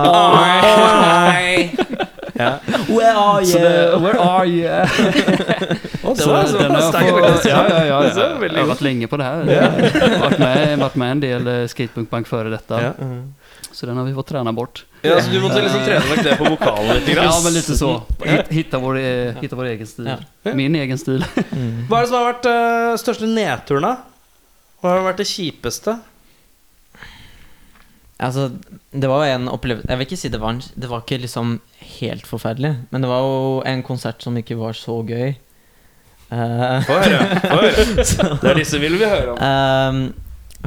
G: Where are
F: Så det, where are you?
B: Det
F: Så
B: var
F: den har
B: såpass
F: jag fått- ja, ja, ja,
B: Det var
F: ja.
B: veldig
F: Jag har varit länge på det här. Varit med, varit med en del eh, skatepunkbank före detta.
B: Ja.
F: Så den har vi fått träna bort.
B: Ja, så du måtte liksom trene vekk det på vokalen litt? Grann.
F: Ja, men lite så. Hitt- Hitta vår, eh, hitta vår egen stil. Min egen stil.
B: Hva er det som har vært eh, største nedturen, da? Hva har vært det kjipeste?
G: Altså, det var jo en opplevelse Jeg vil ikke si det var en Det var ikke liksom helt forferdelig, men det var jo en konsert som ikke var så gøy. Eh,
B: Få høre. Få høre. Det er disse vil vi høre om.
G: Ehm,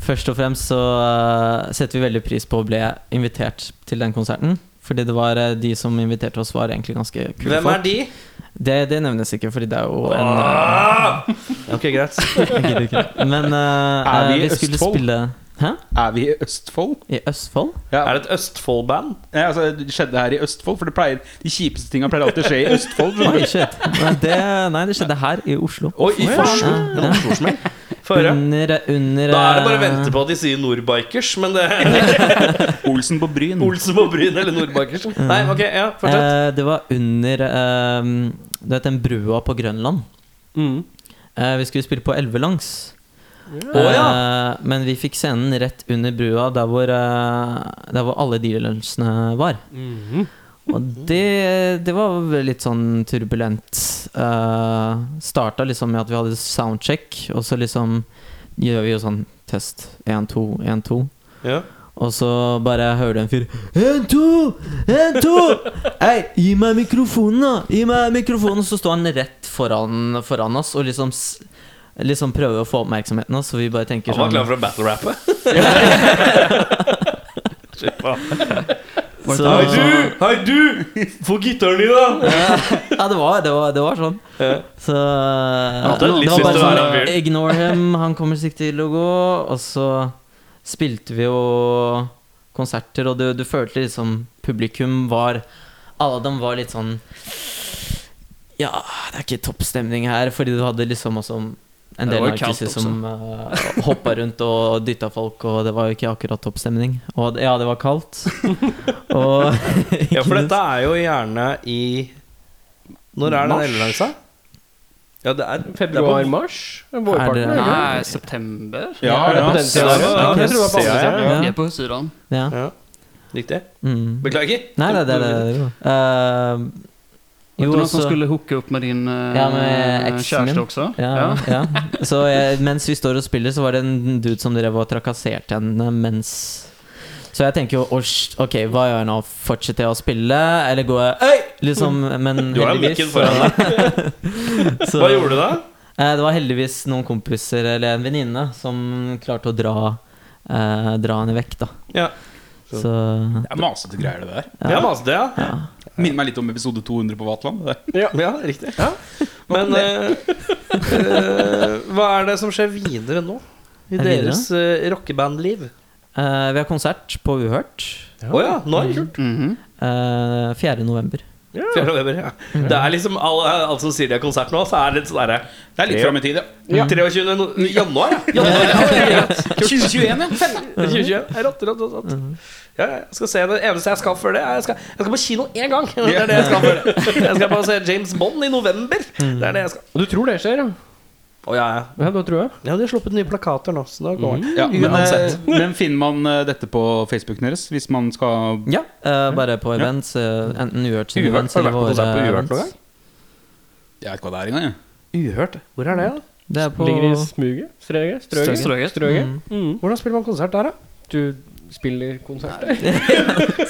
G: først og fremst så eh, setter vi veldig pris på å bli invitert til den konserten. Fordi det var eh, de som inviterte oss, var egentlig ganske kule
B: Hvem er
G: folk.
B: de?
G: Det, det nevnes ikke, fordi det er jo en
B: Ah! Ok, greit.
G: jeg gidder ikke. Men eh,
C: Er vi i
G: eh, skulle
C: Østfold?
G: spille Hæ?
C: Er vi i Østfold?
G: I Østfold?
B: Er det et Østfold-band?
C: Nei, altså, det skjedde her i Østfold, for det pleier, de kjipeste tinga pleier alltid å skje i Østfold. skjønner
G: Oi,
C: du?
G: shit. Nei, det, nei, det skjedde her, i Oslo.
B: Oi, i Oslo?
G: Ja,
B: Det var
G: ja.
B: Oslo-smell. Få høre.
G: Under, under
B: Da er det bare å
G: eh,
B: vente på at de sier Nordbikers, men det er
C: Olsen på Bryn.
B: Olsen på Bryn eller Nordbikers. Nei, ok, ja, fortsett.
G: Eh, det var under eh, Du vet den brua på Grønland? Eh, vi skulle spille på Elvelangs.
B: Mm. Å,
G: Eh, men vi fikk scenen rett under brua, der hvor, eh, der hvor alle dealersene var.
B: Mhm.
G: Og det, det var vel litt sånn turbulent. Eh, starta liksom med at vi hadde soundcheck, og så liksom gjør vi jo sånn test. Én, to, én, to.
B: Ja.
G: Og så bare hører du en fyr En, to! En, to! Hei, gi meg mikrofonen, da! Gi meg mikrofonen! Så står han rett foran, foran oss og liksom, s- liksom prøver å få oppmerksomheten oss, og vi bare tenker
B: Han var
G: sånn
B: klar for å battle-rappe. Shit, hva?
F: Var det
G: Så-
F: inte-
B: hei du! Få gitaren din, da!
G: sånn. Ja, det var, det var, det var sånn.
B: Ja.
G: Så
B: hadde
G: det
B: litt
G: var
B: lyst
G: bare
B: til å være han
G: sånn
B: fyren.
G: Ignore him, han kommer sikkert til å gå. Og så spilte vi jo konserter, og du, du følte liksom publikum var alle dem var litt sånn Ja, det er ikke toppstemning her, fordi du hadde liksom også en del
D: var jo kaldt
G: narkiser som uh, hoppa rundt og dytta folk, og det var jo ikke akkurat toppstemning. Og det- ja, det var kaldt. Og
D: Ja, for dette er jo gjerne i Når er den elvelansa? Ja, det er
A: Februar-mars?
G: Er det-
A: Vårparten? eller?
F: Nei, september?
C: Ja,
A: Er det på den siden?
C: ja.
A: Ja, jeg tror det var på andre
D: Ja,
A: siden.
G: Ja.
F: Vi er på Syran.
G: Ja.
D: Riktig.
G: Mm.
D: Beklager.
G: Nei, det er det det jo. Uh,
F: Jo,
G: jo,
F: noen som
G: så-
F: skulle hooke opp med din eh,
G: Ja, med eksen
F: kjæreste
G: min.
F: også?
G: Ja, ja. Så jeg, mens vi står og spiller, så var det en dude som drev og trakasserte henne mens Så jeg tenker jo «Åsj, Ok, hva gjør jeg nå? Fortsetter jeg å spille, eller går jeg Øy! Liksom, men
D: Du har jo
G: heldigvis
D: mikken foran deg.
G: så,
D: Hva gjorde du da?
G: Eh, Det var heldigvis noen kompiser eller en venninne som klarte å dra eh, Dra henne vekk, da.
D: Ja.
G: Så,
C: Det er masete greier, det der.
D: Ja, maste, ja.
C: Minner meg litt om episode 200 på Vatland. det der.
D: Ja, riktig. Men eh, eh, hva er det som skjer videre nå? I
G: Er videre?
D: deres uh, rockebandliv?
G: eh, vi har konsert på Uhørt.
D: Å ja, Mm. når?
F: Mhm.
G: eh, 4. november.
D: Fjerde november, ja. Det er liksom alle, alle som sier de har konsert nå, så er det litt sånn derre
C: Det er litt fram i tid, ja.
D: 23. No januar, ja. Januar, ja. det er greit. Kult. 2021, ja. 2021. Rått, rått, rått.
G: Mm-hmm.
D: Ja, ja, jeg skal se det eneste jeg skal før det. er Jeg skal, jeg skal på kino én gang. Det er det jeg skal før det. Jeg skal bare se James Bond i november.
G: Mm.
D: Det er det jeg skal.
A: Du tror det skjer, ja?
D: Å, ja, ja.
A: Ja, det tror jeg.
D: ja, de har sluppet nye plakater nå, så da går det.
C: ja men, eh,
D: Mm, Uansett.
C: men finner man eh, dette på Facebooken deres hvis man skal
G: Ja, eh, bare på events. eh, enten Uhørt sine
D: Uhørt?
G: events
D: Har du
G: eller
D: vært på
G: våre
D: konsert på Uhørt
G: events.
D: noen gang?
C: Jeg vet ikke hva det er engang. jeg.
D: Uhørt. Hvor er det, da?
G: Det er på
A: Ligger i smuget? Strøget? Strøget?
F: Strøget. Mhm.
G: Mm.
A: Strøget.
D: Hvordan spiller man konsert der, da?
A: Du spiller konserter?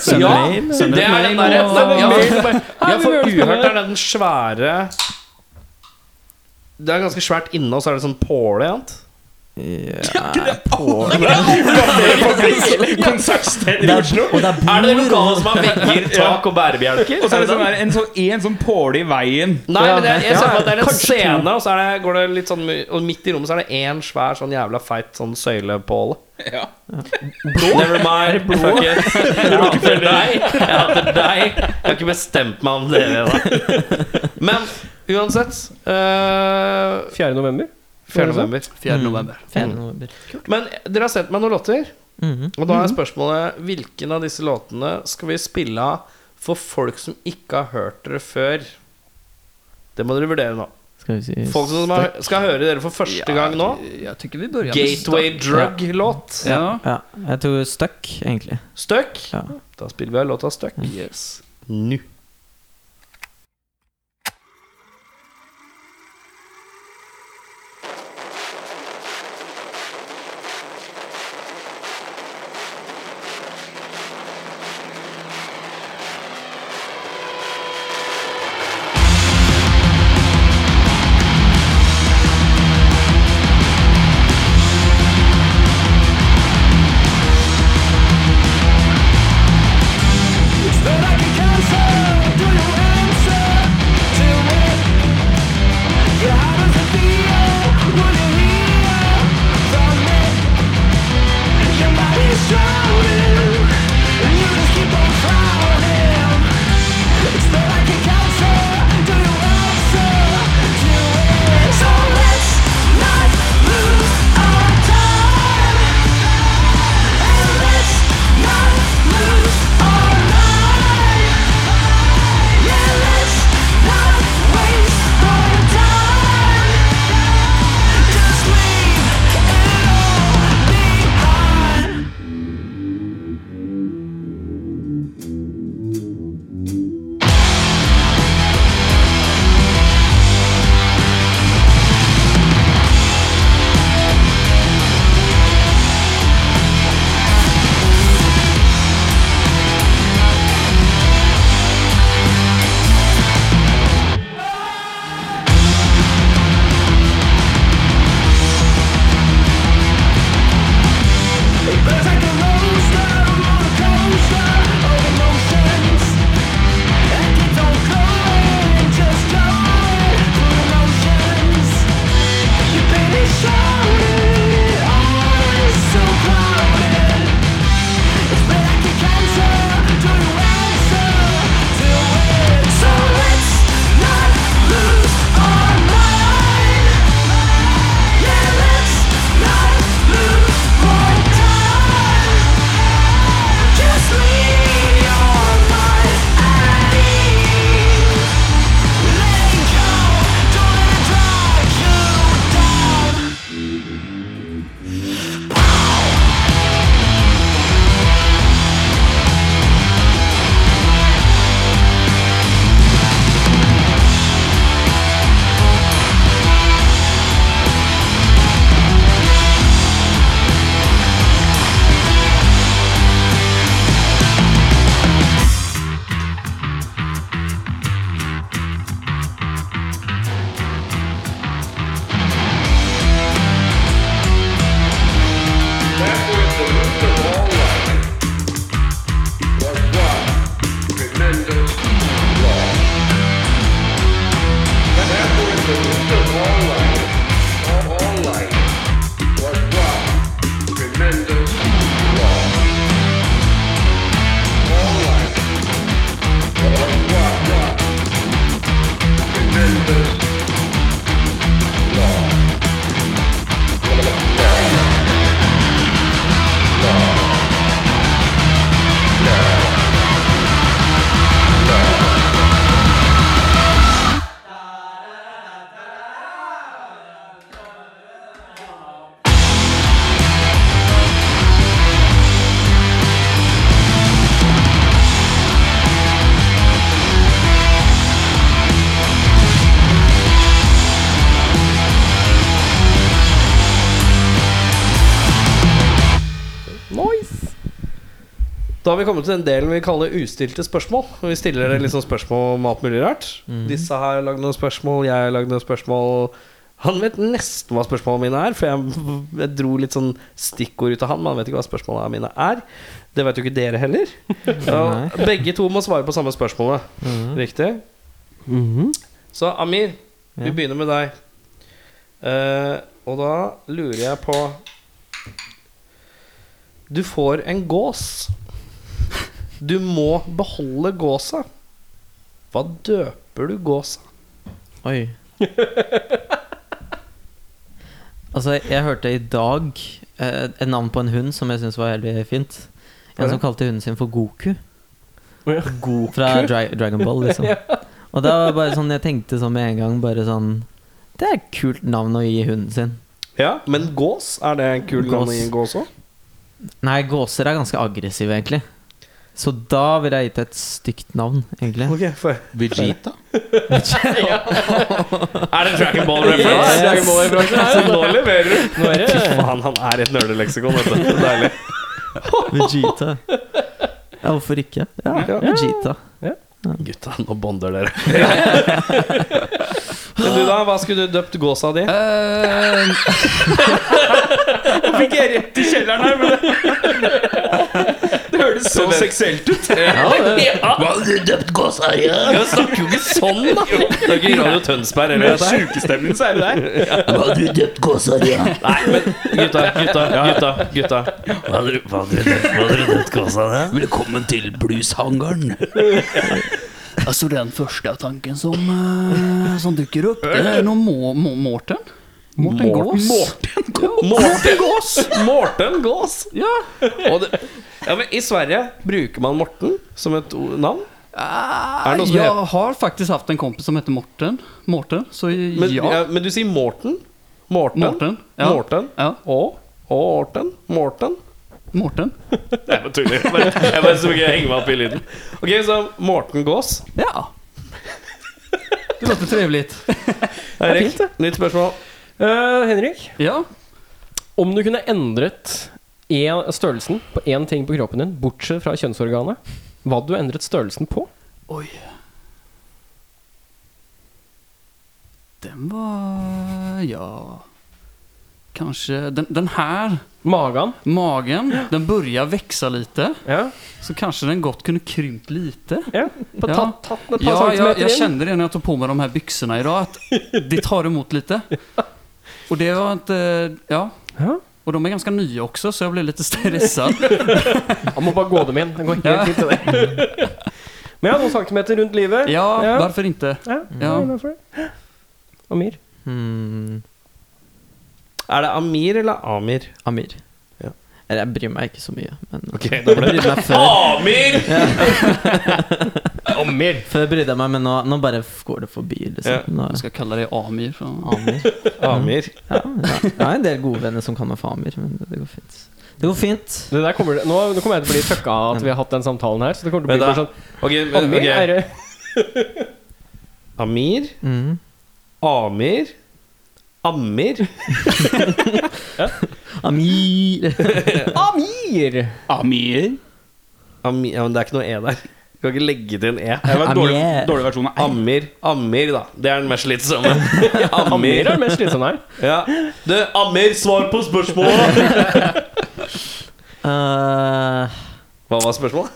G: Sunderlane.
D: det er den derre Nei, ja, ja, for Uhørt er den svære Det er ganske svært inne, og så er det sånn påle, annet.
G: Det er, og det er
D: Er det det
G: bord
D: lokale som har vegger, tak og bærebjelker?
C: Og så er det sånn der, en, sånn, en sånn påle i veien.
D: Nei, men det er, jeg ser for meg at det er en scene, og så er det, går det litt sånn Og midt i rommet så er det én svær sånn jævla feit sånn søylepåle.
C: Ja.
D: Never mind. Fuck it. Jeg hater deg. Jeg hater deg. Jeg har ikke bestemt meg om dere, da. Men uansett øh,
A: 4. november?
D: 4. november.
G: Mm.
F: 4. november.
G: 4. november.
D: Men dere har sendt meg noen låter.
G: Mhm.
D: Og da er spørsmålet hvilken av disse låtene skal vi spille av for folk som ikke har hørt dere før? Det må dere vurdere nå.
G: Skal vi si
D: Folk som har, skal høre dere for første gang nå.
F: Jeg tykker vi begynner
D: Gateway Drug-låt.
F: Ja.
G: Ja, jeg tror Stuck, egentlig.
D: Støkk.
G: Ja.
D: Da spiller vi av låta Støkk. Yes. Nå.
H: That I can cancel
D: Da har vi kommet til den delen vi kaller ustilte spørsmål. Og Vi stiller dere liksom spørsmål om alt mulig rart. Disse har lagd noen spørsmål, jeg har lagd noen spørsmål. Han vet nesten hva spørsmålene mine er, for jeg, jeg dro litt sånn stikkord ut av han. Men han vet ikke hva spørsmålene mine er. Det vet jo ikke dere heller. Ja, begge to må svare på samme spørsmålet. Mm.
G: Mhm.
D: Riktig? Så Amir, vi
G: Ja.
D: begynner med deg. Eh, og da lurer jeg på Du får en gås. Du må beholde gåsa. Hva døper du gåsa?
G: Oi. altså, jeg hørte i dag eh, et navn på en hund som jeg syns var veldig fint. En som kalte hunden sin for Goku. Goku? Fra Dra Dragon Ball, liksom. Og da var det bare sånn, jeg tenkte sånn med en gang bare sånn Det er et kult navn å gi hunden sin.
D: Ja, Men gås, er det en kul navn å gi en gås òg?
G: Nei, gåser er ganske aggressive, egentlig. Så da ville jeg gitt et stygt navn, egentlig.
D: Okay, for-
C: Vegeta?
D: er det Dragon Ball-reference? Så nå leverer du. Fy faen, han er et nerdeleksikon. vet du. Det er Deilig.
G: Vegeta. Ja, hvorfor ikke? Ja,
D: Ja.
G: Vegeta.
D: Gutta, nå bonder dere. Men du, da? Hva skulle du døpt gåsa di?
F: Eh,
D: Fikk jeg rett i kjelleren her, men det, det høres så seksuelt ut.
B: Hva har du døpt gåsa i? Ja?
D: Jeg snakker jo ikke sånn, da. Det er ikke Radio Tønsberg eller dette her.
C: Sjukestemmen, så er det der.
B: Hva har du døpt gåsa di? Ja?
D: Nei, men gutta, gutta, gutta. gutta
B: Hva hadde du- hva hadde du døpt- hva hadde du døpt gåsa di? Velkommen til blueshangaren.
H: Altså, det er den første tanken som, eh, som dukker opp. Det er noe må, må, Morten. Morten Gås.
D: Morten Gås! Morten Gås. Ja. Og det, ja, men I Sverige bruker man Morten som et o- navn.
H: Er
D: det noe som
H: jeg
D: heter-
H: har faktisk hatt en kompis som heter Morten. Morten, så
D: Men,
H: ja.
D: ja, men du sier Morten. Morten.
H: Morten, ja.
D: Morten.
H: ja.
D: Og og Orten. Morten.
H: Morten.
D: Jeg bare tuller. Jeg bare, jeg bare så ikke henge meg opp i lyden. Ok, Så Morten Gås.
H: Ja. Det låter trivelig.
D: Erik, nytt spørsmål.
A: Eh, Henrik,
H: Ja.
A: om du kunne endret en, størrelsen på én ting på kroppen din, bortsett fra kjønnsorganet, hva hadde du endret størrelsen på?
H: Oi. Den var Ja. Kanskje Den, den her
A: Magen.
H: magen, den börjar växa lite.
A: Ja.
H: Så kanskje den godt kunne krympt lite.
A: ja. På
H: Ja.
A: tatt, tatt med et par
H: Ja, jeg,
A: centimeter
H: jeg
A: inn.
H: kände det när jag tog på mig de här byxorna idag att det tar emot lite. Och det var inte, ja.
A: Ja.
H: Och de är ganska nya också så jag blev lite stressad.
A: Han må bare gå dem inn. Det går helt
H: Ja.
A: fint, det der. Men ja, noen centimeter rundt livet.
H: Ja,
A: Ja.
H: varför inte?
A: Ja,
H: Ja.
A: nei, hvorfor det? Amir.
G: Hmm.
D: Er det Amir eller Amir?
G: Amir.
D: Ja.
G: Eller jeg bryr meg ikke så mye. Men
D: Ok,
G: jeg brydde meg før,
D: Amir!
A: Amir.
G: før brydde eh, jeg meg, men nå, nå bare f- går det forbi.
D: Ja.
G: Liksom. Nå,
H: Jag ska kalla dig Amir. Från.
G: Amir.
D: Amir.
G: Ja, ja. Jeg har en del gode venner som kan meg for Amir, men det går fint. Det går fint.
A: Det der kommer, nå, nå kommer jeg til å bli trøkka av at vi har hatt den samtalen her. Så det kommer til å
D: Men
A: bli
D: da,
A: bare sånn
D: ok, men,
A: Amir
D: ok.
A: er det
D: Amir,
G: Mm.
D: Amir, Amir
G: Amir!
A: Amir!
C: Amir.
D: Amir Ja, men det er ikke noe E der. Du kan ikke legge til en E.
C: Det var en dårlig,
G: Amir.
C: dårlig versjon av Am.
D: Amir, Amir, da. Det er den mest slitsomme.
A: Amir
D: Amir.
A: er den mest slitsomme her.
D: Ja. Du, Amir, svar på spørsmålet!
G: Eh,
D: Hva var spørsmålet?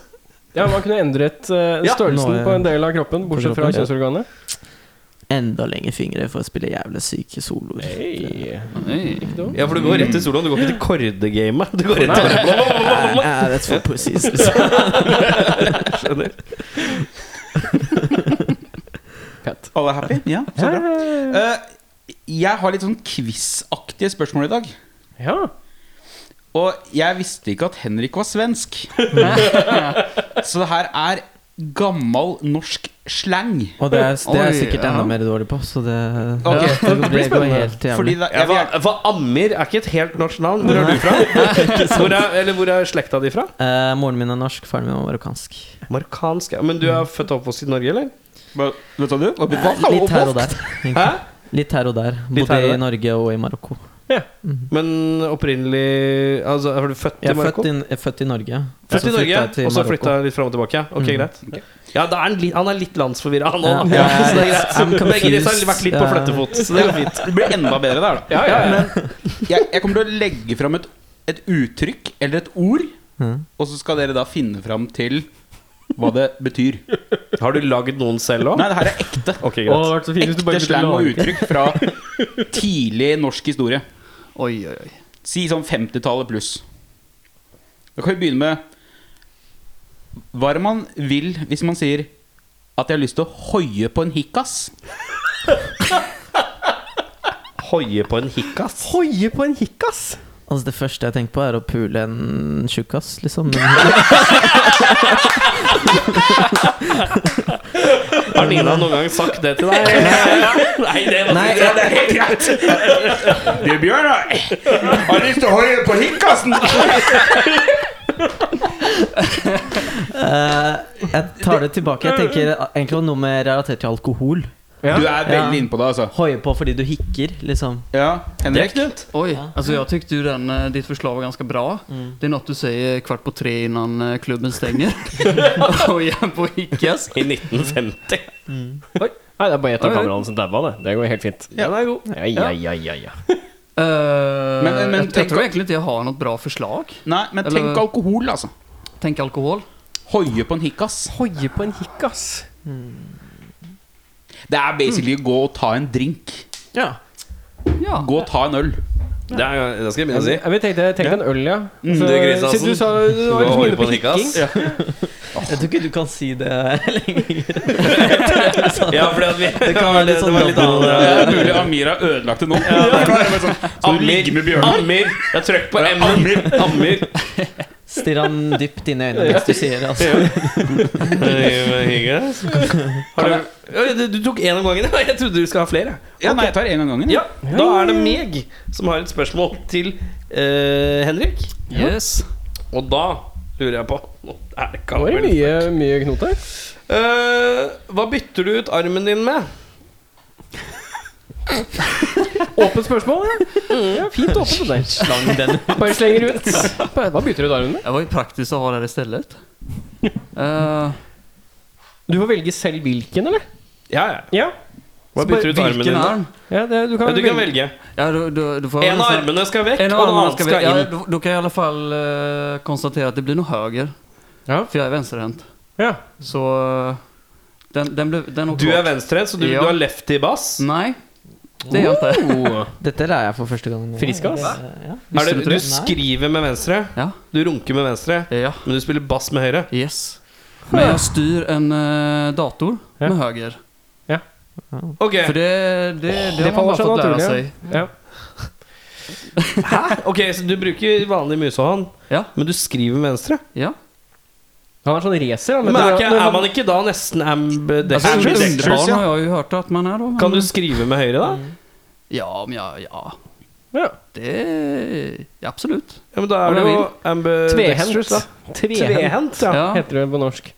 A: Ja, Man kunne endret eh,
D: Ja,
A: størrelsen
G: nå er-
A: på en del av kroppen, bortsett fra
G: kroppen, ja.
A: kjønnsorganet.
G: enda lengre fingre for å spille jævlig syke soloer.
H: Nej.
D: Ja, for du går rett til soloen. Du går ikke til kordegamet. Du går rett
A: Nei.
D: til
G: Mm. Nei, nei, that's for pussies. liksom.
D: Skjønner.
C: Alle er happy? Ja, så bra. Eh, jeg har litt sånn quiz-aktige spørsmål i dag.
A: Ja.
C: Og jeg visste ikke at Henrik var svensk. så det her er gammel norsk slang.
G: Og det er, det er
H: Oi,
G: sikkert enda
H: ja.
G: mer dårlig på, så det,
C: Ok,
G: det, det går helt
C: Fordi
G: jævlig.
C: da,
D: Ja,
C: jeg,
D: for, for Amir er ikke et helt norsk navn. Hvor er du fra? Hvor er, eller hvor er slekta di fra?
G: Eh, moren min er norsk, faren min var marokkansk.
D: Marokkansk. ja. Men du er født og oppvokst i Norge, eller?
C: vil, vet du hva du? Hva- hva-
G: Litt her og der. egentlig.
D: Hæ?
G: Litt her og der. Både
D: her og der?
G: i Norge og i Marokko.
D: Ja. Men opprinnelig altså, Er du født
G: Jeg
D: i
G: er
D: Marokko?
G: født i, jeg er født i Norge.
D: Født i
G: Så
D: Norge,
G: flyttet jeg til
D: og så
G: Marokko. Mm.
D: flytta litt fram og tilbake? Ok, greit. Ja, da er han, litt- han er litt landsforvirra, han òg.
G: Ja, ja,
D: så det er
G: I'm
D: greit. Begge disse har
G: confused.
D: vært litt på
G: Ja.
D: flettefot, så det går fint.
C: Det blir enda bedre der, da.
D: Ja, ja, ja.
C: Jeg, jeg kommer til å legge fram et, et uttrykk eller et ord,
G: Mhm.
C: og så skal dere da finne fram til hva det betyr.
D: Har du lagd noen selv òg?
C: Nei, det her er ekte.
D: Ok,
A: Å, det hadde
D: greit.
A: vært
F: Altså,
A: så fint hvis du
C: Ekte
A: bare
C: slang og uttrykk fra tidlig norsk historie.
F: Oi, oi, oi.
C: Si sånn 50-tallet pluss. Da kan vi begynne med Hva er det man vil hvis man sier at jeg har lyst til å hoie på en hikkas?
D: Hoie på en hikkas?
A: Hoie på en hikkas!
G: Altså Det første jeg tenker på, er å pule en tjukkas, liksom. Men-
D: Har Nina noen gang sagt det til deg? Nei, det var
G: Nei,
D: ikke det.
C: Du, Bjørnar, har lyst til å hoie på hikkasen!
G: Eh, jeg tar det tilbake. Jeg tenker egentlig noe med relatert til alkohol.
C: Du er
G: Ja.
C: veldig inne på det, altså.
G: Hoie på fordi du hikker, liksom.
C: Ja, Henrik?
F: Oj, alltså jag tyckte ju den, eh, ditt förslag var ganska bra. Det är något du säger kvart på tre innan eh, klubben stänger. och igen på Icas.
D: I 1950.
A: Nei, det er bare ett av
F: Oi, oi.
A: kameraene som daua, det. Det går helt fint.
D: Ja, den er god.
A: Ja, ja, ja, ja, ja.
F: Eh,
C: men
F: jag, jag
C: tänk-
F: tror egentligen inte jag har något bra förslag.
C: Nei, men tenk
F: Eller-
C: alkohol, altså.
F: Tänk alkohol.
C: Hoie på en hikkas.
A: Hoie på en hikkas.
C: Det er basically å gå og ta en drink.
G: Ja.
F: Ja.
C: Gå og ta en øl.
D: Det, er, det skal jeg begynne å si.
A: Jeg vil tenke, tenk en øl, ja. Mm, Så,
D: det er grisassen.
A: siden du sa du var
D: Gå
A: liksom
D: hoie
A: inne
D: på
A: på
D: en hikkas.
A: hikking.
G: Jeg tror ikke du kan si det lenger.
D: Ja, fordi at vi, det,
G: kan
D: var
G: være litt
D: det var
G: sånn
D: litt annet.
C: Det er mulig Amir har ødelagt det sånn. nå. ligge med Bjørnar?
D: Amir. Jeg trykk på Amir. Amir.
G: Stirr han dypt inn i øynene mens du sier det. Altså.
D: Har du, Ja, du, du tok én om gangen. Jeg trodde du skulle ha flere.
C: Ja, nei, jeg tar en av gangen.
D: Ja, Da er det meg som har et spørsmål til eh, Henrik.
F: Yes.
D: Og da lurer jeg på Nå er det
A: Det var
D: gammel.
A: mye, mye knot her.
D: Eh, Hva bytter du ut armen din med?
A: Åpent spørsmål, ja. ja fint åpent, det der.
G: Slang den
A: Bare slenger ut. Bare- Hva bytter du armen med?
F: Det var ju praktiskt att ha det här istället. Eh,
A: Du får velge selv hvilken, eller?
D: Ja, ja.
A: Ja.
D: Hva bytter du ut armen din
F: vilken
D: med?
F: arm?
A: ja det, du
D: Ja,
A: kan
D: du
A: velge.
D: kan velge.
F: Ja, då, då, då får jag
D: En av
F: nästan-
D: armene skal vekk,
F: En
D: og
F: av
D: den
F: armarna
D: andre
F: ska
D: skal
F: vi... Ja,
D: inn.
F: då, då kan jag i alla fall eh, konstatera att det blir nog höger.
A: Ja.
F: För jag är vänsterhänt.
A: Ja.
F: Så eh, den, den, blev, den åkte
D: Du er
F: bort.
D: venstrehendt, så du,
F: Ja. Mm.
D: du har lefty bass.
F: Nej, det är jag inte.
D: Oh.
G: Dette lærer jeg for første gang. nå.
A: Friskass?
G: Det- Ja.
D: Er det,
G: Visste
D: du
G: det? Nei.
D: skriver med venstre,
F: Ja.
D: du runker med venstre,
F: Ja,
D: men du spiller bass med høyre.
F: yes. Men jag styr en eh, dator
A: Ja.
F: med höger.
D: Ok,
F: För det, det, det,
A: det faller
F: har man bara
A: sig
F: fått lära
A: naturligt,
F: sig.
A: Ja.
D: ok, Så du bruker vanlig musehånd,
F: Ja.
D: men du skriver med venstre?
F: Ja.
A: Han er sånn racer. Han
D: Men er, ikke, er
A: man
D: man ikke da nesten
F: Alltså,
D: ambidextrous?
F: underbarn har jag ju hört att man är då. Men...
D: Kan du skrive med høyre, da?
F: Ja, men ja, ja.
A: Ja.
F: Det... Ja, absolut.
D: Ja, men Da
F: Om
D: er
F: du
D: du jo
F: vil.
A: sånn Tvehent.
D: ambidextrous, da.
A: Tvehent, ja.
F: Ja.
A: Heter det på norsk.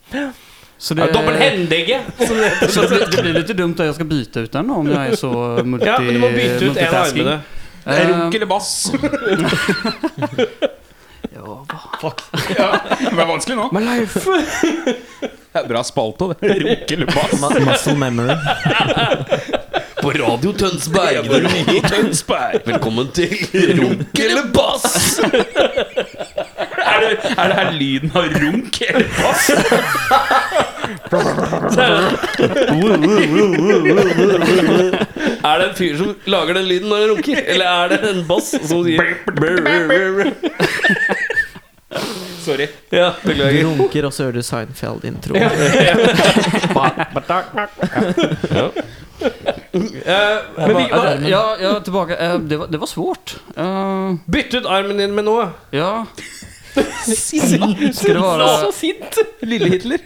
F: Så
D: Ja,
F: det,
D: Dobbelthendige! som det heter.
F: så det, blir, det blir lite dumt att jag ska byta ut den då, om jag är så eh, multi,
D: Ja, men du må bytte ut en av
F: multitasking.
D: armene.
F: Eh,
C: Runk eller bass?
F: ja,
C: Det ble vanskelig nå. Det er bra spalte, det. Runk eller bass?
G: Ma- Muscle memory.
I: På Radio Tønsberg. Velkommen til Runk eller bass.
C: Er det, er det her lyden av runk?
D: Er det en fyr som lager den lyden når han runker? Eller er det en bass som sier
C: Sorry.
D: Ja,
G: Du
D: beklager.
G: runker, og så gjør du Seinfeld-intro.
D: Eh, men vi, hva,
F: ja, ja, ja, tillbaka. Eh, Det var, det var svårt. Eh,
D: bytte ut armen din med noe.
F: ja. Ska det vara...
D: sint! Lille Hitler.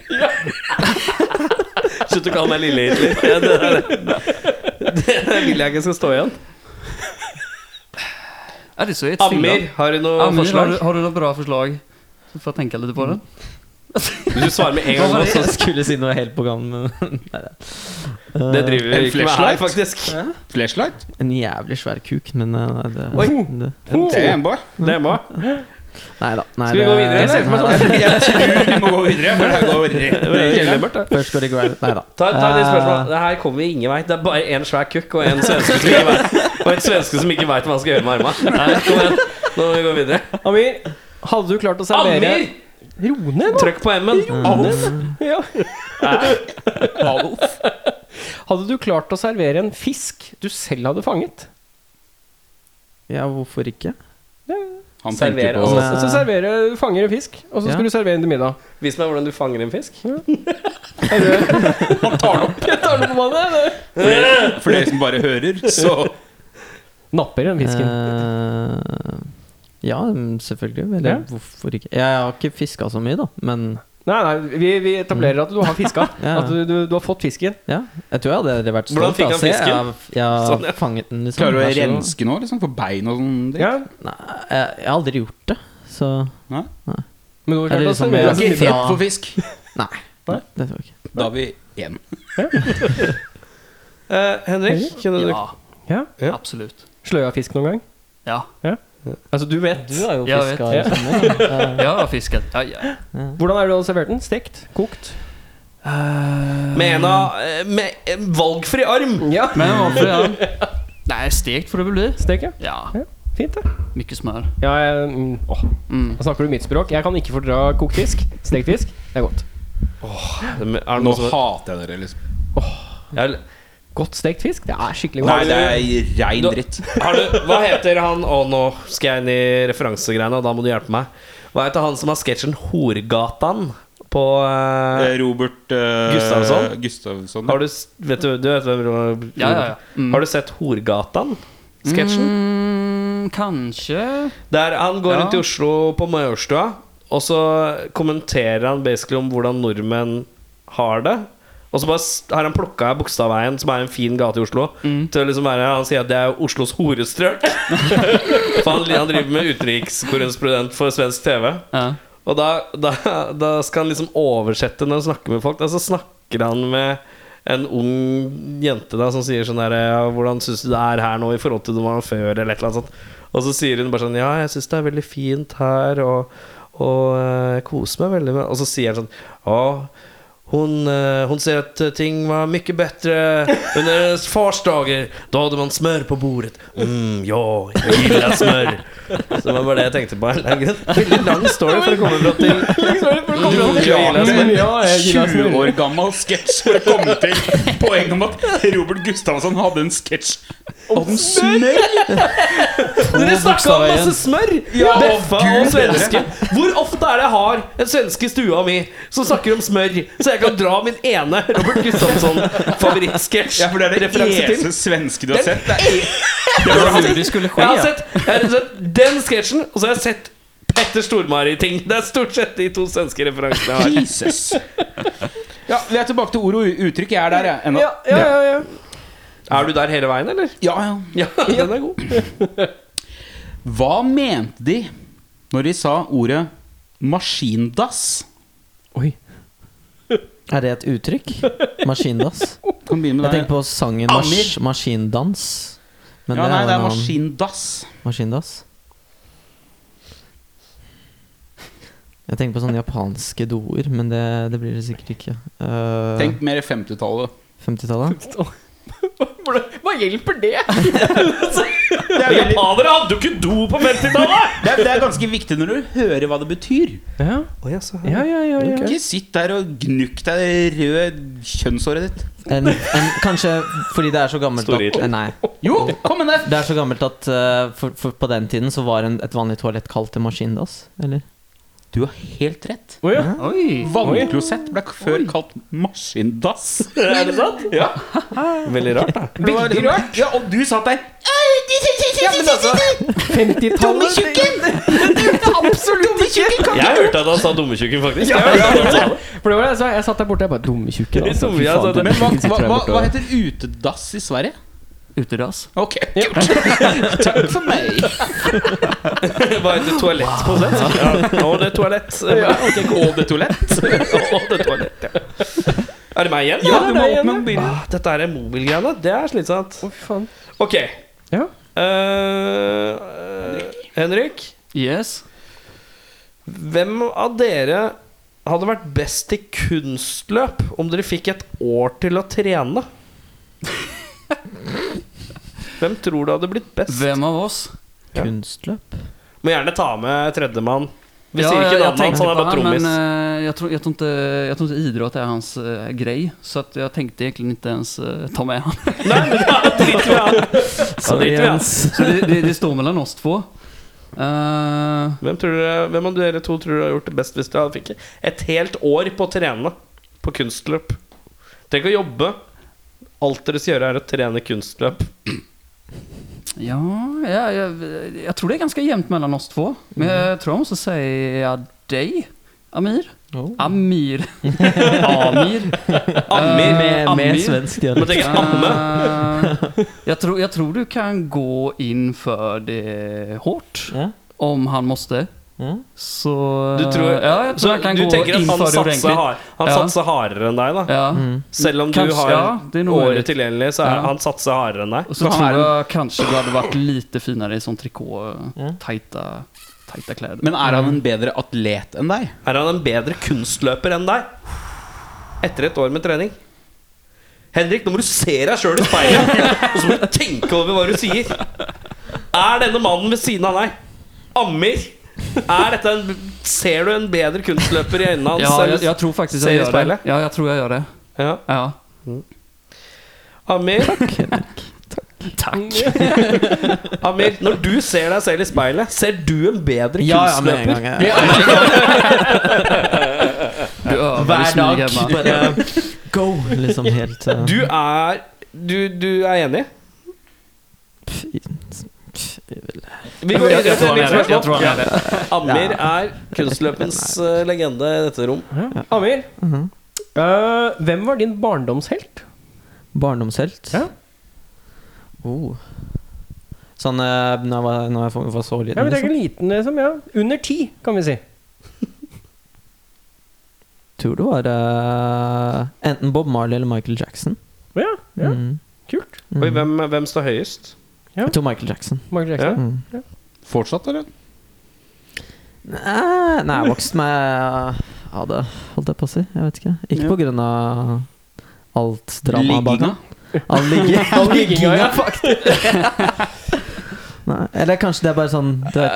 D: Slutt å kalle meg Lille Hitler. Ja, det, der, det der vil jeg ikke skal stå igjen.
F: Ja, det är så ett stilla.
D: Amir, har du noe
F: Amir, har,
D: forslag?
F: du, har du något bra förslag? Så får jag tänka lite på det.
D: Hvis du svarer med en
G: Jeg
D: gang, nå, så
G: skulle si noe helt på gang, men Nei, det. Eh,
D: Det driver vi ikke med her, faktisk.
C: Flashlight?
G: En jævlig svær kuk, men eh, nei, det,
A: Oi.
G: det
C: Det er en boy.
A: Det må
G: Nei da. Nei,
A: Skal vi
G: det-
A: gå videre? Jeg ser for meg sånn.
C: Jeg tror vi må gå videre. Jeg bare går rett ned i kjelleren.
G: Først går det grind. Nei da.
D: Ta, ta de spørsmålene. Det her kommer vi ingen vei. Det er bare én svær kukk og en svenske som ikke vet, og en svenske som ikke vet hva han skal gjøre med armene. Kom igjen. Nå må vi gå videre.
A: Amir, hadde du klart å servere
D: Amir!
A: Ro ned, nå!
D: Trykk på M-en.
A: Ja. Hadde du klart å servere en fisk du selv hadde fanget?
G: Ja, hvorfor ikke?
C: Han tenker
D: Serverer,
C: på
A: Så, så servere, du fanger en fisk, og så
G: Altså, Ja.
A: skal du servere den til middag.
D: Vis meg hvordan du fanger en fisk.
A: Jeg tar den på badet, det.
C: For dere som bare hører, så
A: Napper den fisken.
G: Eh, ja, mm, selvfølgelig. Eller
A: Ja.
G: hvorfor ikke? Jeg har ikke fiska så mye, da. Men
A: Nei, nei, vi, vi etablerer at du har fiska.
G: Ja.
A: At du, du, du har fått fisken.
G: ja, jeg tror jeg hadde aldri vært
D: Hvordan
G: stolt.
D: fikk
G: da.
D: han
G: Se, Jeg,
D: fisken?
G: har- jeg har
D: Sånn, ja.
G: fanget den, liksom.
C: klarer du å
G: Vær så god.
C: renske nå, liksom? For bein og sånn dritt?
A: Ja.
G: Nei, jeg, jeg har aldri gjort det, så
A: Men du har
G: Er
A: klart
G: det
A: å
G: liksom
A: servere
G: mer-
A: den
C: Ikke
A: til middag.
C: redd for fisk.
G: Nei.
A: Nei?
G: Det tror jeg ikke.
C: Da har vi én.
J: Eh, Henrik, kunne du
F: Ja,
A: Ja.
F: absolutt.
A: Sløya fisk noen gang?
F: Ja.
A: Altså, du vet.
G: Du har jo
F: Jeg vet.
G: fiska i sommer. da.
F: Ja, jeg har fisket. Ja, ja.
A: Hvordan er det du har servert den? Stekt? Kokt?
D: Med en av eh, Med en valgfri arm.
A: Ja.
F: Men varför ja. Nej, stekt får det väl bli.
A: Stek, ja.
F: Ja,
A: Fint, det.
F: mycket smör.
A: Ja, jeg, mm, åh,
F: Mm.
A: da snakker du mitt språk. Jeg kan ikke fordra kokt fisk. Stekt fisk, det er godt.
D: Er det noen
C: Nå
D: som
C: hater jeg dere, liksom.
D: Jeg-
A: Godt stekt fisk? Det er skikkelig godt.
C: Nei, det er rein
D: Du-
C: dritt.
D: Har du Hva heter han Å, nå skal jeg inn i referansegreiene, og da må du hjelpe meg. Hva heter han som har sketsjen Horgatan på eh,
C: Eh, Robert eh,
D: Gustavsson?
C: Gustavsson, ja.
D: Har du s- Vet du, du vet hvem Ro-
F: Ja, ja, ja. Mm.
D: Har du sett Horgatan? Sketsjen?
F: Mm, kanske.
D: Der han går
F: Ja.
D: rundt i Oslo på Majorstua, og så kommenterer han basically om hvordan nordmenn har det. Og så bare s- har han plukka Bogstadveien, som er en fin gate i Oslo,
F: Mm.
D: til å liksom være Han sier at det er Oslos horestrøk. for han, han driver med utenrikskorrespondent for svensk TV.
F: Ja.
D: Og da, da, da skal han liksom oversette når han snakker med folk. Da så snakker han med en ung jente da som sier sånn der ja, 'Hvordan syns du det er her nå i forhold til det var før?' eller et eller annet sånt. Og så sier hun bare sånn 'Ja, jeg syns det er veldig fint her, og, og eh, jeg koser meg veldig med Og så sier han sånn 'Ja, hun, eh, hun sier at ting var mye bedre under hennes fars dager. Da hadde man smør på bordet. Mm, ja, jeg gillar smør. Så det var bare det jeg tenkte på. Det er en Veldig lang story for å komme fram til
C: Du
D: gillar
C: klarte
D: smør.
C: en 20 år gammel sketsj for å komme til poenget om at Robert Gustavsson hadde en sketsj om smør!
D: Dere snakka om masse smør! Beffa og
C: Gud
D: svenske. Hvor ofte er det jeg har en svenske i stua mi som snakker om smør, så jeg kan dra min ene Robert Gustafsson-favorittsketsj?
C: Ja, for det er det
D: Referanse til.
C: eneste svenske du har sett. Det
F: Det var hur det skulle ske.
D: Jeg har sett, jeg har sett den sketsjen, og så har jeg sett Petter Stormare i ting. Det er stort sett de to svenske referansene jeg har.
C: er Jesus. Ja, vi er tilbake til ord og uttrykk. Jeg er der, jeg. Ennå.
A: Ja, ja, ja, ja.
D: Er du der hele veien, eller?
C: Ja, ja.
D: Ja, den er god.
C: Hva mente de når de sa ordet maskindass?
G: Er det et uttrykk? Maskindass?
C: Kan begynne
G: Jeg
C: med
G: tenker
C: det.
G: på sangen mars,
C: Amir.
G: Maskindans. Men
C: Ja,
G: det
C: nei,
G: er
C: det er
G: jo en annen-
C: maskindass.
G: Maskindass. Jeg tenker på sånne japanske doer, men det, det blir det sikkert ikke. Eh,
C: Tenk mer 50-tallet.
G: 50-tallet?
A: Hva hjelper det?
C: Det, er veldig-
D: Japanere hadde jo ikke do på 50-tallet!
C: det er- det er ganske viktig når du hører hva det betyr.
A: Ja, ja, ja, ja, ja.
C: Ikke sitt der og gnukk deg det røde kjønnshåret ditt.
G: En, en, kanskje fordi det er så gammelt
D: Store
G: at
D: Hitler.
G: Nei.
C: Jo, kom med det!
G: Det er så gammelt at eh, for, for på den tiden så var en, et vanlig toalett kalt en maskindass, eller?
C: Du har helt rett.
A: Å, ja.
F: Oj.
C: Vannklosett ble før kalt maskindass.
D: Er det sant? Ja. Veldig rart, da.
C: Det var liksom- Ja, og du satt der. Ja, men altså,
A: 50-tallet.
D: Jeg hørte at han sa dummetjukken, faktisk.
A: Ja,
D: Jeg hørte at han sa det.
A: For det var det jeg sa. Jeg satt der borte, jeg bare Dumme tjukken. Altså.
D: Dumme, jeg
A: Fy faen,
D: satt der.
A: dumme
C: men hva,
A: tjukken sitter
C: hva,
A: der
C: hva,
A: borte,
C: hva
A: og-
C: heter utedass i Sverige?
F: utedass.
C: Ok,
D: Hva heter toalett på svensk? Ja. Og det er toalett.
C: Og det toalett.
D: Og det er toalett, ja. Er det meg igjen?
A: Ja, det er deg igjen, ja.
D: Ah, dette er mobilgreiene. Det er slitsomt.
A: Å, fy faen.
D: Ok.
A: Ja.
D: Eh, Henrik,
F: Yes.
D: hvem av dere hadde vært best i kunstløp om dere fikk et år til å trene? Hvem tror du hadde blitt best?
F: Hvem av oss?
D: Ja.
G: Kunstløp?
D: Må gjerne ta med tredjemann. Vi
F: Ja,
D: sier
F: jeg-
D: ikke
F: jeg
D: navnet hans,
F: tenkte
D: han er
F: på
D: bare trommis.
F: Men eh, jeg, tror, jeg, tror ikke, jeg tror ikke idrett er hans eh, grei, så at jeg tenkte egentlig ikke ens eh, ta med han.
D: Nei, men da driter vi i han.
G: Sorry,
D: driter vi, ja.
G: Jens.
F: Så det, det, det står mellom oss to. Eh,
D: Hvem, tror dere, hvem av dere to tror dere har gjort det best hvis dere hadde fikk et helt år på å trene på kunstløp? Tenk å jobbe. Alt dere skal gjøre, er å trene kunstløp.
F: ja jeg, jeg, jeg tror det er ganske jevnt mellom oss to. Men
G: Mhm.
F: jeg tror jeg må si deg, Amir.
G: Oh.
F: Amir. Amir.
D: Eh, Amir.
G: Med, med
F: Amir.
G: svensk
D: Du må
G: dialekt.
D: tenke amme.
F: Eh, jeg, tror, jeg tror du kan gå inn for det hardt,
G: Ja.
F: om han måtte.
G: Ja.
F: Så
D: Du, tror,
F: Eh, ja, jeg tror
D: så
F: jeg kan
D: du
F: gå
D: tenker at
F: inn
D: han
F: for det
D: satser,
F: ordentlig.
D: hard, han
F: Ja.
D: satser hardere enn deg, da?
F: Ja.
G: Mm.
D: Selv om du
F: Kanskje-
D: har
F: ja, det er noe mulig.
D: året tilgjengelig, så er
F: Ja.
D: han satser hardere enn deg?
F: Og så
C: Hva
F: tror
C: er det-
F: jeg kanskje du hadde vært lite finere i sånn trikot,
G: Ja.
F: tighta, tighta klær.
C: Men er han en bedre atlet enn deg?
D: Er han en bedre kunstløper enn deg? Etter et år med trening? Henrik, nå må du se deg sjøl i speilet, og så må du tenke over hva du sier. Er denne mannen ved siden av deg, Ammer er dette en, Ser du en bedre kunstløper i øynene hans?
F: ja, jeg,
D: eller-
F: jeg tror faktisk
D: Ser i
F: jeg gjør det.
D: speilet?
F: Ja, jeg tror jeg gjør det.
D: ja.
F: Ja.
D: Amir Amir, når du ser deg selv i speilet, ser du en bedre
G: Ja, ja, med en
D: kunstløper?
G: gang. Ja.
F: Du øver
G: Hver
F: smyg
G: dag.
F: hjemme.
G: Bare go, liksom helt eh,
D: Du er du, du er enig?
G: pff, pff, jeg vil-
D: Vi går rett
F: Jeg
D: til
F: tror han
D: mitt
F: er det. Jeg tror
D: spørsmål.
F: han er det.
D: Amir er kunstløpens eh, legende i dette rom.
A: Amir, eh, hvem var din barndomshelt?
G: Barndomshelt?
A: Ja.
G: Oh. Sånn eh, når jeg var, når jeg var- var så
A: Ja,
G: liten,
A: vi tenker
G: liksom.
A: liten, liksom. Ja. Under ti, kan vi si.
G: Tror det var eh, enten Bob Marley eller Michael Jackson.
A: Ja, ja.
G: Mm.
A: kult.
G: Mm.
D: Oi, hvem, hvem står høyest?
G: Jeg tror Michael Jackson.
A: Michael Jackson.
D: Ja.
G: Mm.
C: Fortsatt, eller?
G: Nei, nei, jeg vokste med Ja, det holdt jeg på å si. Jeg vet ikke. Ikke på grunn av alt dramaet bak
C: Ligginga?
G: han. All ligge- all ligginga, ja, faktisk. Nei, eller kanskje det er bare sånn Du vet.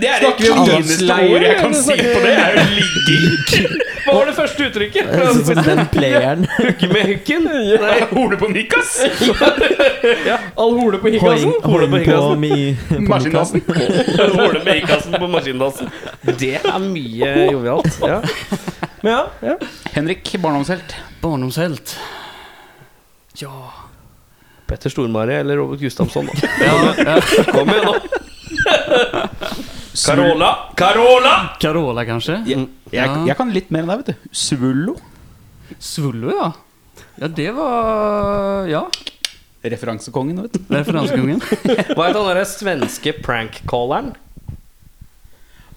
D: det er
A: Snakker vi om dødsleier, eller snakker
D: på det! er jo ligging. Hva var det første uttrykket?
G: Sånn den playeren.
D: Hooke med hooken? Nei, hole på nikkas!
A: All hole på hikkasen.
G: Hoing
D: Hole på
G: hoing på
D: hikkasen.
G: mi på
C: Maskindassen.
D: Hole med hikkasen på maskindassen. Det er mye jovialt. Ja.
A: Men ja, ja.
C: Henrik, barndomshelt.
F: Barndomshelt. Ja.
D: Petter Stormare eller Robert Gustafsson, da.
F: ja, ja.
D: Kom igjen, da. Carola! Carola!
F: Carola, kanskje?
C: Jeg, jeg, jeg kan litt mer enn deg, vet du. Svullo.
F: Svullo, ja. Ja, det var Ja.
C: Referansekongen, vet du.
F: Det er Referansekongen.
D: Hva het han derre svenske prank-calleren?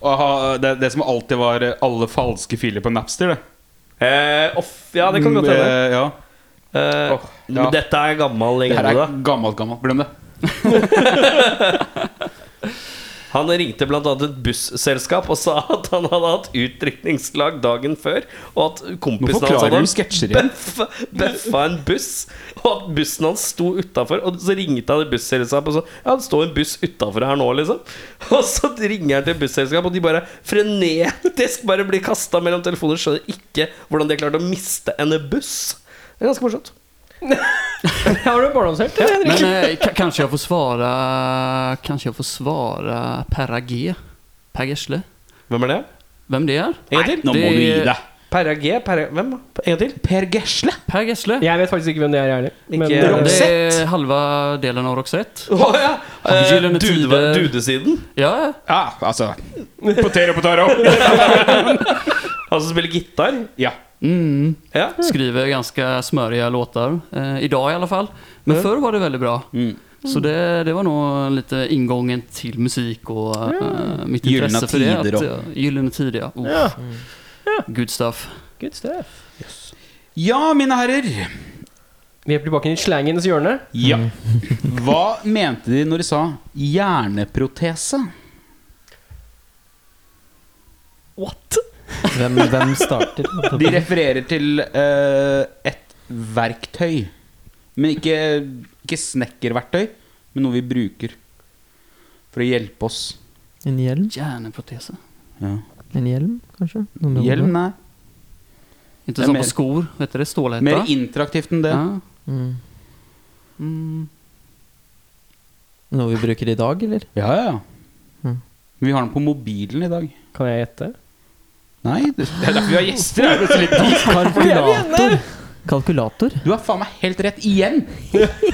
C: Å ha- det, det som alltid var eh, alle falske filer på Napster, det.
D: Eh, off, ja, det kan godt
C: Mm,
D: hende.
C: eh, Ja.
D: Eh,
C: Åh, ja.
D: Men dette er gammel
C: Det her
D: legende.
C: er
D: da.
C: gammelt, gammelt. Glem det.
D: Han ringte bl.a. et busselskap og sa at han hadde hatt utdrikningslag dagen før, og at
C: Nå
D: kompisen
C: forklarer du
D: hans hadde
C: sketsjer igjen.
D: bøffa, bøffa en buss, og at bussen hans sto utafor. Og så ringte han til busselskapet og sa Ja, det står en buss utafor her nå, liksom. Og så ringer han til busselskapet, og de bare frenetisk bare blir kasta mellom telefoner. Skjønner ikke hvordan de har klart å miste en buss. Det er ganske morsomt.
A: Har du en barndomshelt? eller, Henrik?
F: Men eh, ka- kanskje jeg får svare Kanskje jeg får svare Perra G. Per Gisle.
D: Hvem er det?
F: Hvem det er?
D: En gang til?
C: Nå må
F: Det-
C: du gi deg.
D: Perra G? Perra, hvem? En gang til?
C: Per Gesle!
F: Per Gessle.
A: Jeg vet faktisk ikke hvem det er, jeg heller. Men
D: Ikke-
A: eh,
F: Det
C: Roxette.
F: er halva delen av Roxette.
D: Å ja! Eh,
F: Gyllene
D: dude,
F: tider.
D: dudesiden.
F: Ja, ja.
C: Ja, altså Potet og potet
D: Han som spiller gitar.
C: Ja.
F: Mm.
D: Ja.
F: Skriver ganska smöriga låtar. Eh, idag i alla fall. Men förr var det väldigt bra.
C: Mm.
F: Så det, det var nog lite ingången till musik och eh,
D: Mm.
F: mitt
C: Gyllene
F: intresse för det.
C: tider
F: Att,
C: och-
F: ja, gyllene tider, ja. Oh.
A: Ja.
F: Good stuff.
A: Good stuff.
C: ja, mine herrer.
A: Vi er tilbake i slangens hjørne.
C: Ja. Hva mente de når de sa hjerneprotese?
A: What?
G: Hvem, hvem starter?
C: De refererer til eh, et verktøy. Men ikke, ikke snekkerverktøy, men noe vi bruker for å hjelpe oss.
G: En hjelm?
F: Hjärnproteser.
C: Ja.
G: En hjelm, kanskje? Noe med
C: Hjelm, nei.
F: Inte
C: Ja,
F: som
C: mer-
F: på skor, vet du det? Stålhätta.
C: Mer interaktivt enn det.
F: ja.
G: hodet? Mm.
F: mm.
G: Noe vi bruker i dag, eller?
C: Ja, ja, ja.
G: Mm.
C: Vi har den på mobilen i dag.
A: Kan jeg gjette?
C: Nei, det det er derfor vi har gjester. er det plutselig de.
G: Kalkulator! Kalkulator?
C: Du har faen meg helt rett igjen!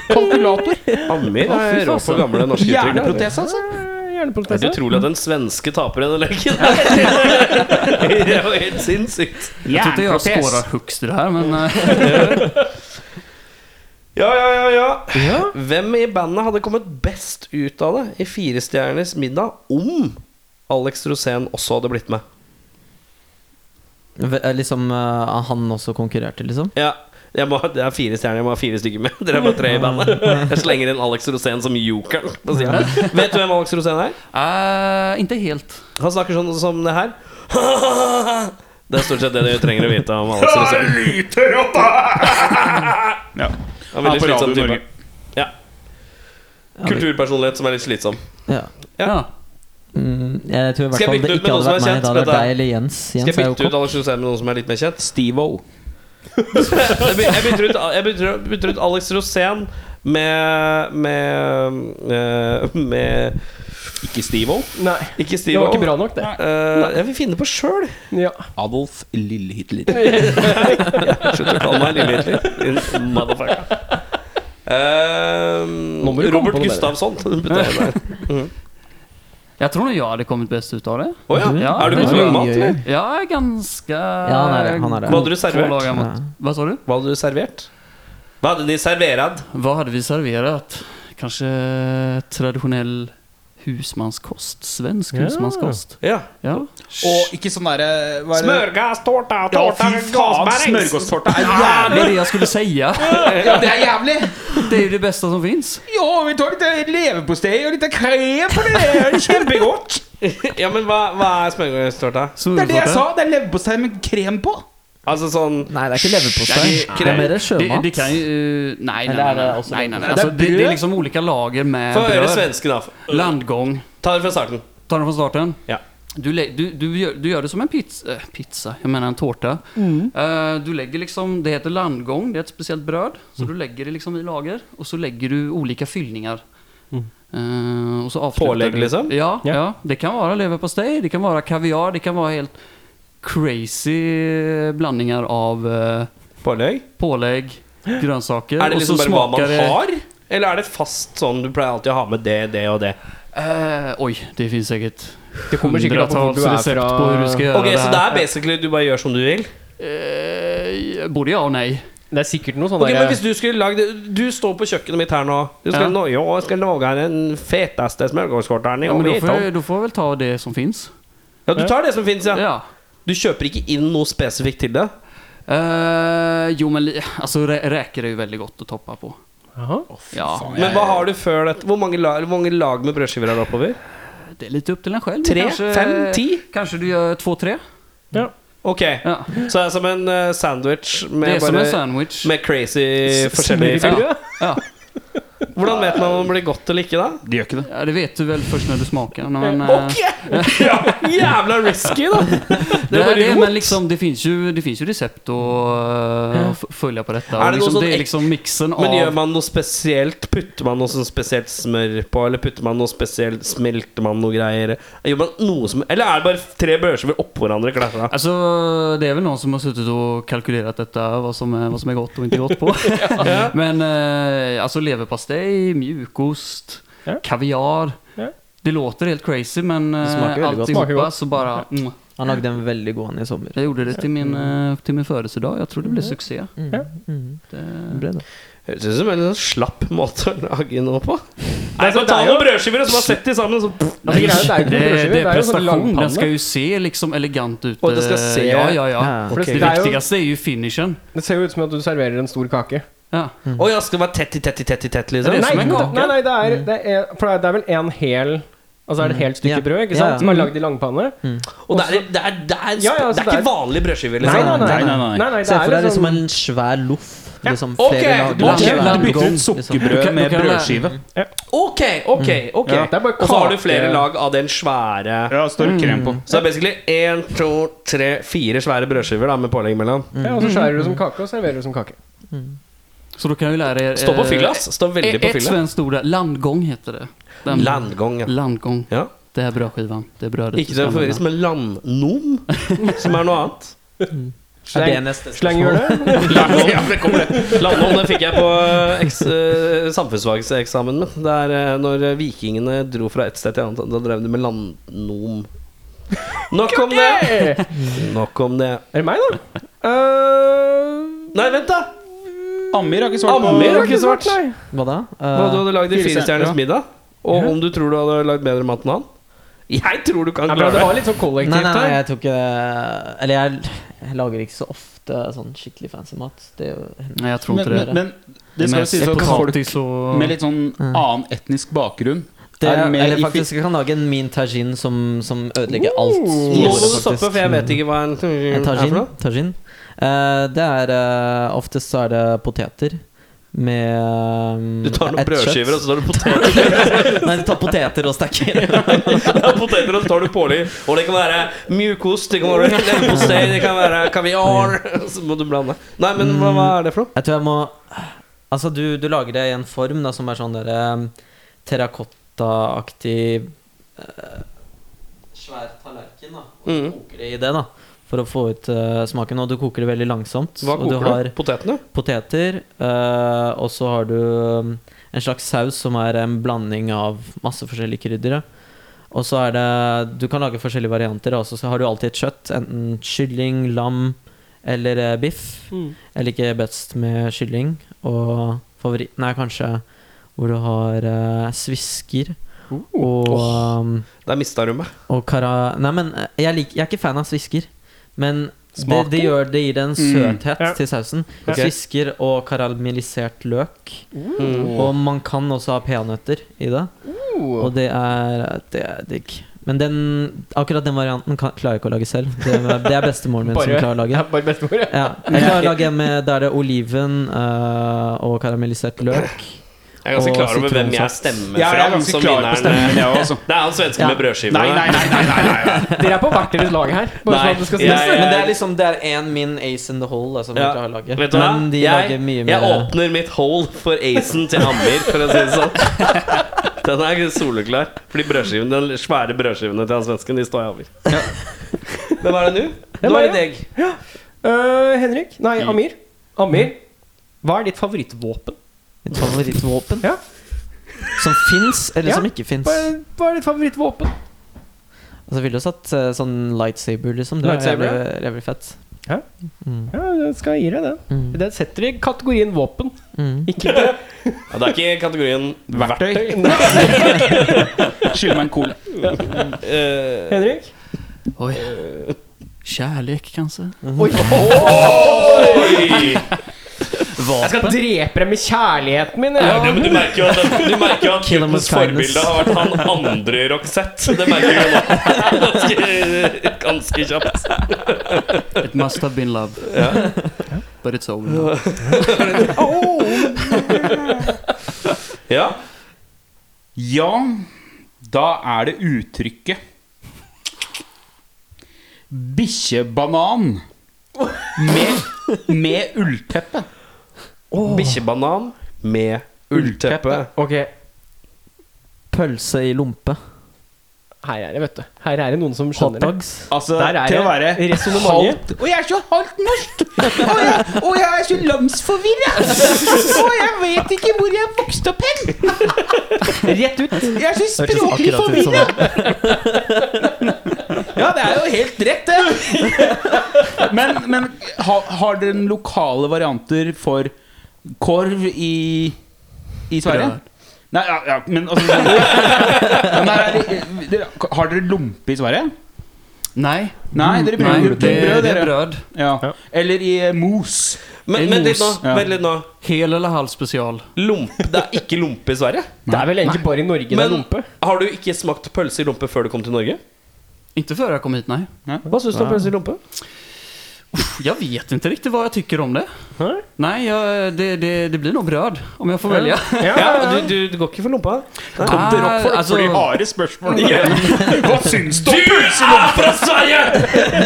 C: Kalkulator.
D: Amir
A: Å, fy
D: er rå på
A: faen.
D: gamle norske uttrykk.
C: Hjerneprotese, altså.
A: Eh,
D: Det er
A: Hjerneprotese?
D: utrolig at den svenske taper denne leken. det er jo helt sinnssykt.
F: Jag tror inte jag
C: Hjärnprotes.
F: spårar högst i det här, men eh,
D: Ja, ja, ja, ja. Hvem i bandet hadde kommet best ut av det i Firestjerners middag om Alex Rosén også hadde blitt med?
G: V- eh, Liksom eh, han også konkurrerte, liksom?
D: Ja, jeg må, Det er fire stjerner, jeg må ha fire stykker med. Dere er bare tre i bandet. Jeg slenger inn Alex Rosén som jokeren. på siden. Vet du hvem Alex Rosén er? Mm.
F: eh, inte helt.
D: Han snakker sånn som det her. Det er stort sett det dere trenger å vite om Alex Rosén.
C: Ja.
D: Han er
C: Han er på
D: veldig slitsom
C: Radio
D: type.
C: Norge.
D: Ja. Kulturpersonlighet som er litt slitsom.
G: Ja.
D: Ja.
G: Mm, jeg tror i
D: Skal
G: hvert
D: jeg
G: fall
D: bytte
G: det
D: ut med
G: ikke
D: noen
G: hadde
D: som er
G: vært meg.
D: kjent?
G: Det hadde vært
D: Dette-
G: deg eller Jens.
D: Skal
G: Jens
D: jeg
G: er jo
D: bytte ut
G: kopp.
D: Alex Rosén med noen som er litt mer kjent?
C: Steve-O.
D: Jeg by- jeg bytter ut, jeg bytter, ut- bytter ut Alex Rosén med Med, eh, med
C: Ikke Steve-O.
A: Nei.
D: Ikke
A: Det
D: Steve
A: var ikke bra nok, det.
D: Eh, jeg vil finne på sjøl.
A: Ja.
C: Adolf Lille-Hitler.
D: Slutt å kalle meg Lille Hitler. Din Motherfucker. Eh,
A: Nå må du komme
D: Robert
A: på noe bedre.
D: Gustavsson. putter jeg der.
F: Jag tror nog jag hade kommit bäst ut av det.
D: Å ja.
F: Ja,
D: Er du
F: det
D: god til å
F: tror
D: lage
G: jeg.
D: mat? eller?
F: Jag är ganska...
G: Ja, han är det, han är det.
D: Vad hade du serverat?
F: Två lagar mat.
G: Ja.
F: Vad sa du?
D: Hva hadde du servert? Hva hadde de servert?
F: Vad hade vi serverat? Kanske traditionell husmanskost? Svensk husmanskost?
D: Ja.
F: Ja.
C: Og ikke sånn derre hva er det?
D: Smørgasstårta,
C: Ja, fy faen! Smørgåstorta er
F: Det
C: jævlig!
F: är det jag skulle säga.
C: Ja, det er jævlig!
F: Det är ju det bästa som finns.
C: Ja, vi tar litt eh, leverpostei og litt krem på det! Det er kjempegodt!
D: Ja, men hva, hva er smørgasstårta?
C: Det er det jeg sa! Det er leverpostei med krem på!
D: Altså sånn
G: Nei, det er ikke leverpostei.
D: Nei,
G: Det er mer
F: Det,
G: sjømat.
F: det kan ju... eh, nej, nej,
G: Eller
F: nej,
G: är det
F: nej,
G: också
F: nej, nej, nej.
G: bröd?
F: Alltså, det, det är liksom olika lager med
D: Få høre
F: bröd.
D: svensken, da.
F: Landgång.
D: Ta det fra starten.
F: Ta den från starten.
D: Ja.
F: Du, lä- du, du, gör, du gör det som en pizza, eh, pizza jag menar en tårta.
A: Mm.
F: Eh, du lägger liksom, det heter landgång, det är ett speciellt bröd. Så
A: Mm.
F: du lägger det liksom i lager och så lägger du olika fyllningar. Eh, och så avslutar
D: Pålägg
F: du.
D: liksom?
F: Ja,
A: Mm. Ja.
F: ja. det kan vara leverpastej, det kan vara kaviar, det kan vara helt crazy blandningar av eh,
D: Pålegg?
F: pålägg, grönsaker.
D: Er det
F: och så
D: liksom bare hva man
F: smakar det-
D: har? Eller er det fast sånn du pleier alltid å ha med det, det og det?
F: Eh, oj, det finns säkert
A: Det kommer sikkert an på hvor du
F: hundratals
A: er
F: recept
A: fra.
F: på hur du ska göra
D: Ok,
F: det
D: Så
F: här.
D: det er basically du bare gjør som du vil?
F: Eh, både ja och nej.
A: Det er sikkert noe sånn
D: Ok, men
A: derre
D: hvis Du skulle lagd Du står på kjøkkenet mitt her nå. Du skal,
F: Ja.
D: nå, ja, jeg skal lage den feteste smørgårdskorteren i
F: Ja, men då,
D: vet
F: får
D: om.
F: jag, då får jag väl ta det som finns.
D: Ja, Du tar det som fins,
F: Ja.
D: ja. Du kjøper ikke inn noe spesifikt til det?
F: Eh, jo, men li- alltså, rä räkor är ju väldigt gott att toppa på.
A: Jaha.
F: Ja,
D: Men hva har du før dette? Hvor mange lag, hvor mange lag med brødskiver er det oppover?
F: det är lite upp till en själv.
D: Tre?
F: Kanske-
D: Fem? Ti?
F: Kanske du gör två, tre.
D: Ok.
F: Ja.
D: Så det er som en eh, sandwich
F: Det
D: med,
F: är som en
D: bare,
F: sandwich.
D: med crazy
A: S-
D: forskjellige
A: smør i
D: fyller?
F: Ja.
D: Hvordan vet man om det blir godt eller ikke, da?
C: De gjør ikke det.
H: Ja, det vet du vel først når du smaker den. Men, eh,
D: Ok! Ja, jævla risky, da!
H: det,
D: Det
H: är
D: var
H: det,
D: det
H: men liksom, det, finns ju, det finns ju recept att eh, f- följa på detta.
D: Är
H: Och
D: det
H: liksom,
D: någon
H: det är
D: sån
H: liksom mixen
D: Men gjør
H: av...
D: man noe spesielt? Putter man noe sånn spesielt smør på? Eller putter man noe spesielt Smelter man noe greier? Gjør man noe som Eller er det bare tre brødskiver oppå hverandre? klasja?
H: Alltså, Altså, det är väl någon som har suttit och kalkylerat detta, vad som är, vad som är gott och inte gott på. Men eh, alltså leverpastej, mjukost,
A: Ja.
H: kaviar.
A: Ja.
H: Det låter helt crazy men eh,
G: smakar väldigt gott.
H: alltihopa
A: Smakar gott.
H: så bara... Mm,
G: Han lagde en veldig god en i sommer.
H: jag gjorde det till min, eh, till min födelsedag, jeg tror det ble suksess.
G: Mm, mm.
H: Det-
G: Bra, da.
D: Høres ut som en litt sånn slapp måte å lage noe på. sånn Nei, så
A: det
D: Ta
A: er jo-
D: noen brødskiver og så bare sett de sammen. Så
A: Ja, men greia er
H: det,
A: at det er jo ikke noen brødskive,
H: det
A: det
H: är
A: er jo sånn
H: prestation,
A: langpanne.
H: den skal jo se liksom elegant ut. eh,
D: Och det ska se-
H: Ja, ja, ja.
G: Ja.
A: For det-
H: Det
A: det, er jo,
H: viktigste er jo finishen.
A: det ser jo ut som at du serverer en stor kake.
H: Ja.
D: Å ja, skal det være tett i tett i tett i tett,
H: Det
D: liksom?
H: er
A: nei,
H: som en
A: det-
H: kake.
A: nei, nei, det er, det er, for det er- det er vel en hel Altså er det et helt stykke
G: Mm. Ja.
A: brød ikke
G: Ja, Mm.
A: sant?
G: ja.
A: som er lagd i langpanne?
D: Og det er, det er, det er,
A: Ja, ja, altså,
D: det
A: det
D: er ikke
A: er-
D: vanlige
A: Nei,
D: brødskiver, liksom?
A: nei, nei.
C: Nei, nei, nei.
A: nei,
G: Se for deg
A: liksom-
G: liksom en svær loff.
D: sånn-
G: Liksom
D: Ok,
G: flere lager.
D: ok,
G: Svær
C: Du bytter
G: gong,
C: ut
G: liksom.
C: sukkerbrød
H: Kan-
C: med
H: kan jeg-
C: brødskive.
D: Ok, ok, ok.
A: Mm. Ja, det er bare
D: Og så har du
A: kake.
D: flere lag av den svære
C: Ja, det står krem på.
D: Så det er basically én, to, tre, fire svære brødskiver da med pålegg imellom.
A: Ja, og så skjærer
G: Mm.
A: du som kake og serverer du som kake.
H: Så da kan vi lære eh, dere
D: Stå på fylla, ass. Stå Eh, veldig
F: E-
D: på
H: Ett
D: fylla.
H: svenskt ord der. Landgång heter det. Den-
D: Landgång, ja.
H: Landgång.
D: Ja.
H: Det er brødskiven. Det er brødet.
D: Ikke til å forvirres med landnom, som er noe annet.
G: Er det neste
A: Slenghjørnet.
D: Landnom, ja, det kommer det. landnom det fikk jeg på eh, eks, eh, samfunnsfagseksamen min. Det er eh, når eh, vikingene dro fra et sted til annet. Da drev de med landnom. Nok om det!
A: Hey!
D: Nok om det.
A: Er det meg, da? Uh,
D: Nei, vent, da!
C: Amir har ikke svart på
D: Amir har ikke svart.
G: Hva da?
D: Hva du hadde lagd i
C: Fire
D: Firestjerners
C: stjerner.
D: middag. Og om du tror du hadde lagd bedre mat enn han. Jeg tror du kan
A: Nei, men
D: klare
A: det
D: det.
A: var litt sånn kollektivt
G: Eh, Nei, nei, nei,
A: her.
G: jeg tok ikke Eller jeg, jeg lager ikke så ofte sånn skikkelig fancy mat. Det er jo
H: Nei, jeg tror
C: Men,
H: ikke det.
C: men, men det skal jo
H: mest
C: sies
H: er
C: at folk
H: potatis og
C: med litt sånn
G: Mm.
C: annen etnisk bakgrunn
G: det,
C: er med i
G: Eller
C: fi-
G: faktisk jeg kan lage en min tagine som, som ødelegger
D: Oh!
G: alt. i
D: Nå må
G: ordet,
D: du stoppe,
G: faktisk.
D: for jeg vet ikke hva en
G: En
D: er for
G: tagine.
D: noe.
G: tagine. Eh, det er eh, Oftest så er det poteter med um,
D: Du tar noen brødskiver, og så tar du poteter,
G: Nei, du tar poteter og stekker.
D: Ja, poteter og så tar du pålegg. Og det kan være mjukost, det kan være leverpostei, det kan være kaviar Så må du blande. Nei, men hva, hva er det for noe?
G: Jeg tror jeg må Altså, du, du lager det i en form da, som er sånn derre terrakottaaktig eh, Svær tallerken, da. Og
D: Mm.
G: koker det i det, da. For å få ut eh, smaken. Og du koker det veldig langsomt.
D: Hva
G: og du
D: koker
G: har
D: du? Potetene?
G: poteter, eh, og så har du mm, en slags saus som er en blanding av masse forskjellige kryddere. Og så er det Du kan lage forskjellige varianter, og så så har du alltid et kjøtt. Enten kylling, lam eller eh, biff. Jeg liker best med kylling. Og favoritten er kanskje hvor du har eh, svisker og um,
D: Der mista du meg.
G: og kara... Nei, men eh, jeg, lik, jeg er ikke fan av svisker. Men det, det, gjør, det gir det en søthet
A: Ja.
G: til sausen.
A: Ja.
G: Svisker og karamellisert løk. Og man kan også ha peanøtter i det. Og det er, det er digg. Men den, akkurat den varianten kan, klarer jeg ikke å lage selv. Det er, det er bestemoren min som
A: Bare-
G: klarer å lage.
A: Ja, bare bestemor, ja.
G: Ja, jeg klarer å lage en med der det er oliven eh, og karamellisert løk.
D: Jeg er ganske
G: Og
D: klar over hvem jeg
G: sitronsaft.
D: stemmer
C: Ja, jeg er
D: fram
C: ganske
D: som
C: klar på
D: vinneren.
C: stemmen, jeg også.
D: Det er han svensken med brødskivene.
C: Nei, nei, nei, nei, nei, nei.
A: Dere er på hvert deres lag her. Bare
D: Nei,
A: sånn at det skal
D: jeg-
A: sies.
G: Men det er liksom Det er én min ace in the hole da, som
D: Ja.
G: jeg klarer å lage.
D: Vet du hva?
G: Men de
D: jeg,
G: lager mye
D: jeg
G: mer
D: åpner mitt hole for acen til Amir, for å si det sånn. Den er soleklar. Fordi brødskivene, de svære brødskivene til han svensken, de står jeg over. Men hva er det nå?
A: Det
D: Nå
A: var
D: er det deg.
A: Øh, Henrik. Nei, Amir. Amir,
G: Mm.
A: hva er ditt favorittvåpen?
G: Mitt favorittvåpen.
A: Ja.
G: Som fins, eller
A: Ja.
G: som ikke fins.
A: Hva er, hva er ditt favorittvåpen?
G: Altså, jeg ville jo satt eh, sånn lightsaber, liksom. Det er
A: Lightsaber,
G: jævlig,
A: ja.
G: jævlig fett.
A: Ja, det skal jeg gi deg den.
G: Mm.
A: Den setter i kategorien våpen.
G: Mm.
A: Ikke det.
D: Ja, det er ikke i kategorien verktøy.
C: Skyld meg en cola.
D: Eh,
A: Henrik?
H: Oi. Kjærlighet, kanskje?
A: Oi.
D: Oi!
A: Jeg skal drepe deg med kjærligheten min.
D: Ja,
A: jeg.
D: men du merker jo at, du merker jo at
G: Kill 'em with
D: guttens
G: kindness.
D: forbilde har vært han andre Roxette. Det merker du nå. Ganske, ganske kjapt.
H: It must have been love. But it's over. now.
D: Ja.
C: Ja, da er det uttrykket Bikkjebanan med, med ullteppe.
D: Bikkjebanan med ullteppe.
G: Ok. Pølse i lompe.
A: Her er det, vet du. Her er det noen som skjønner det.
G: Hotdogs.
C: Altså,
A: Der er
C: til å være
A: det resonnementet.
C: halvt Og jeg er så halvt norsk! Og jeg, og jeg er så lamsforvirra! Og jeg vet ikke hvor jeg vokste opp hen!
A: Rett ut.
C: Jeg er så
G: Hørtes
C: språklig
G: akkurat ut som
C: forvirra! Ja, det er jo helt rett, det! Men, men ha, har dere lokale varianter for korv i, i Sverige? Nei, ja, ja, men altså men er det- Har dere lompe i Sverige?
F: Nei,
C: Mm, Nei, dere
F: nei
C: bruker
F: det, det
C: brød,
F: er
C: dere.
F: brød.
C: Ja. Eller i eh, mos.
D: Men
F: En
D: vent litt nå.
F: mos,
C: ja.
D: Vent litt nå.
F: Hel eller halv spesial.
D: Lompe Det er ikke lompe i Sverige.
A: Det er vel egentlig bare i Norge det er
D: Men
A: lompe.
D: har du ikke smakt pølse i lompe før du kom til Norge?
F: Inte før jeg kom hit, nei.
D: Hva syns du om pølse i lompe?
F: Jeg vet ikke riktig hva jeg tykker om det.
A: Hæ?
F: Nei, jeg, det, det, det blir noe brød, om jeg får velge.
D: Ja, du, du, du går ikke for lompa?
F: Kom til Rockfolk, altså, for de
C: harde spørsmålene. Hva syns du om pølse?
K: er fra Sverige!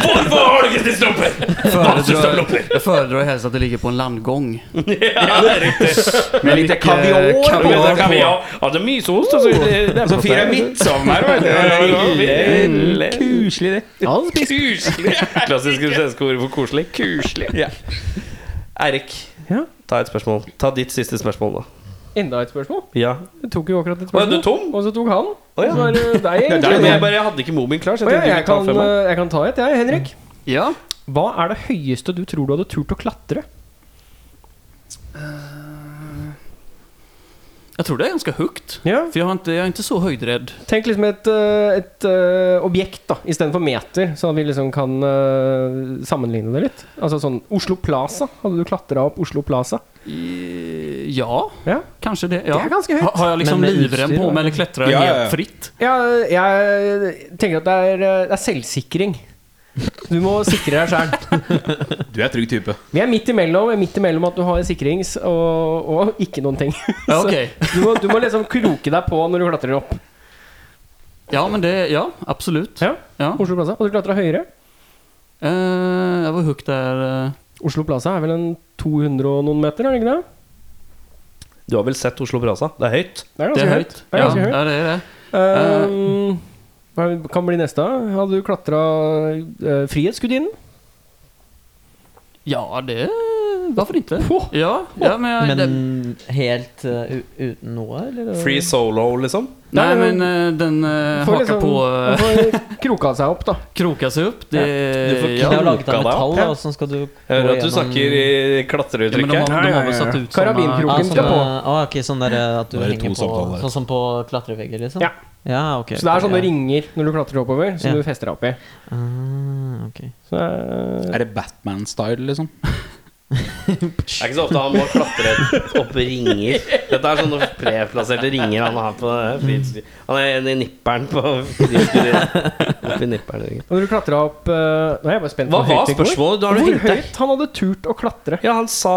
K: Hvorfor har du ikke spist lomper?
F: Foredrar, jeg foredrar helst at det ligger på en landgång.
K: Ja, det er riktig.
C: Med litt kaviar.
K: Kan vi, kan vi, ja. ja, det er mye ost, altså. Det er
C: Så fyrer jeg midt sammen her. Kuselig, det.
A: Ja, det spiser-
K: Kuselig.
D: Klassiske svenske ord for koselig. Kuselig.
C: Ja.
D: Eirik,
A: Ja.
D: ta et spørsmål. Ta ditt siste spørsmål, da.
A: Enda et spørsmål.
D: Ja.
A: Du tok jo akkurat et
D: Å, er
A: spørsmål.
D: du tom?
A: Og så tok han.
D: Å, ja.
A: Så er det deg,
D: Ja,
A: egentlig.
D: men jeg, bare, jeg hadde ikke mobilen klar, så
A: Å,
D: jeg
A: ja,
D: tenkte
A: jeg,
D: jeg kunne
A: kan,
D: ta fem.
A: eh, jeg kan ta et, jeg. Henrik.
F: Ja.
A: Hva er det høyeste du tror du hadde turt å klatre?
F: Jeg tror det er ganske høyt.
A: Ja.
F: For jeg, har ikke, jeg er ikke så høyderedd.
A: Tenk liksom et, eh, et eh, objekt da istedenfor meter, så at vi liksom kan eh, sammenligne det litt. Altså sånn Oslo Plaza. Hadde du klatra opp Oslo Plaza?
F: I- Ja,
A: Ja.
F: kanskje det. Ja.
A: Det er ganske høyt.
F: Ha, har jeg liksom
G: Men med
F: livrem
G: utstyr,
F: på
G: da.
F: meg, eller klatrer jeg
C: Ja, ja, ja.
F: helt fritt?
A: Ja, jeg tenker at det er, eh, det er selvsikring. Du må sikre deg sjæl.
C: Du er trygg type.
A: Vi er midt imellom, vi er midt imellom at du har sikrings og, og ikke noen ting.
F: Ja,
A: Så
F: ok.
A: du, må, du må liksom kroke deg på når du klatrer opp.
F: Ja, men det Ja, absolutt.
A: Ja,
F: Ja.
A: Oslo Plaza. Og du klatra høyere.
F: Eh, jeg var høyt der eh,
A: Oslo Plaza er vel en 200 og noen meter, er det ikke det?
D: Du har vel sett Oslo Brasa? Det er høyt.
A: Det er
F: Det
A: ganske
F: er høyt.
A: høyt. Det er
F: ja,
A: ganske høyt.
F: ja, det er det.
A: Ehm, Hva kan bli neste? Hadde du klatra uh, Frihetsgudinnen?
F: Ja, det Hvorfor ikke? Ja, ja, men, jeg, det,
G: Men helt eh, u- uten noe, eller?
D: Free solo, liksom.
F: Nei,
A: Nei,
F: men eh, den uh,
A: Får
F: haker
A: liksom-
F: på
D: eh,
A: man
F: uh,
A: får kroka seg opp, da.
F: Kroka seg opp. Det,
G: Det
F: ja,
G: er jo laget
D: Kroka
G: av
D: deg
G: metall,
D: opp,
G: da,
D: ja.
G: og sånn skal du gå
D: Jeg hører at du snakker i
F: ja, men de har,
D: klatreuttrykket.
F: de har vel satt ut
A: Karabinkroken.
G: Ja,
A: Kroken
G: sånn,
A: skal på.
G: eh, ah, ok, sånn der eh, at du
C: Da er det to
G: henger på
C: samtaler.
G: Sånn som på klatrevegger, liksom?
A: Ja.
G: Ja, ok.
A: Så det er sånne
G: ja.
A: ringer når du klatrer oppover, som
G: Ja.
A: du fester deg opp i.
G: Ah, ok.
A: Så, eh,
C: Er det Batman-style, liksom?
D: Det er ikke så ofte han må klatre opp ringer. Dette er sånne preplasserte ringer han har på frihetsgudinnen.
C: Mm.
D: Han er en i nipperen på frihetsgudinnen. Oppi nipperen.
A: og når du klatra opp eh, Nå er jeg bare spent på
D: Hva
A: hvor
D: var
A: høyt det går.
D: spørsmålet? Du har
A: Hvor
D: du hengt deg
A: høyt han hadde turt å klatre?
D: Ja, han sa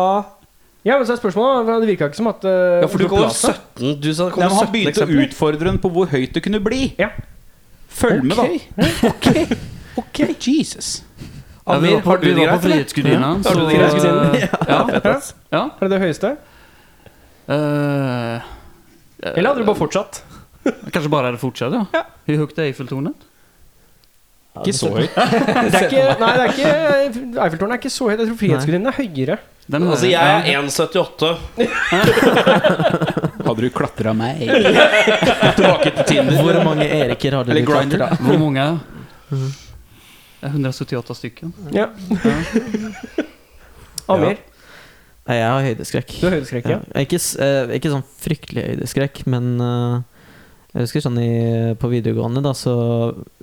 A: Ja, men så er spørsmålet da, for Det virka ikke som at eh,
D: Ja, for du
A: Oslo
D: kom
A: Plaza-
D: 17 Du sa det kom
C: Nei, men han
D: 17
C: begynte å
D: eksempler.
C: utfordre den på hvor høyt det kunne bli.
A: Ja.
C: Følg med, da. Ok, Jesus.
F: Ja, vi
D: Amir,
F: var på,
D: har du
F: vi
D: det greit?
F: var på
D: eller?
F: Frihetsgudinna.
D: Har du
F: så-
D: det greit,
F: Ja.
A: Ja.
F: ja.
A: Er det det høyeste?
F: Eh,
A: Eller hadde du bare fortsatt?
F: kanskje bare hadde fortsatt, ja. Hvor høyt er Eiffeltårnet?
C: Ikke så høyt.
A: Det er ikke, nei, det er ikke Eiffeltårnet er ikke så høyt. Jeg tror Frihetsgudinnen er høyere.
F: Den er-
D: Altså, jeg er 1,78.
C: Hadde du klatra meg Tilbake til Tinder.
G: Hvor mange Eriker hadde
C: Eller
G: du
C: Grindr.
G: klatra?
F: ja. Hvor mange? Det er 178 stykken.
A: Ja. Amir,
G: Nei, jeg har høydeskrekk.
A: du har høydeskrekk, ja.
G: Ja. Ikke, s- eh, ikke sånn fryktelig høydeskrekk, men eh, jeg husker sånn i, på videregående, da, så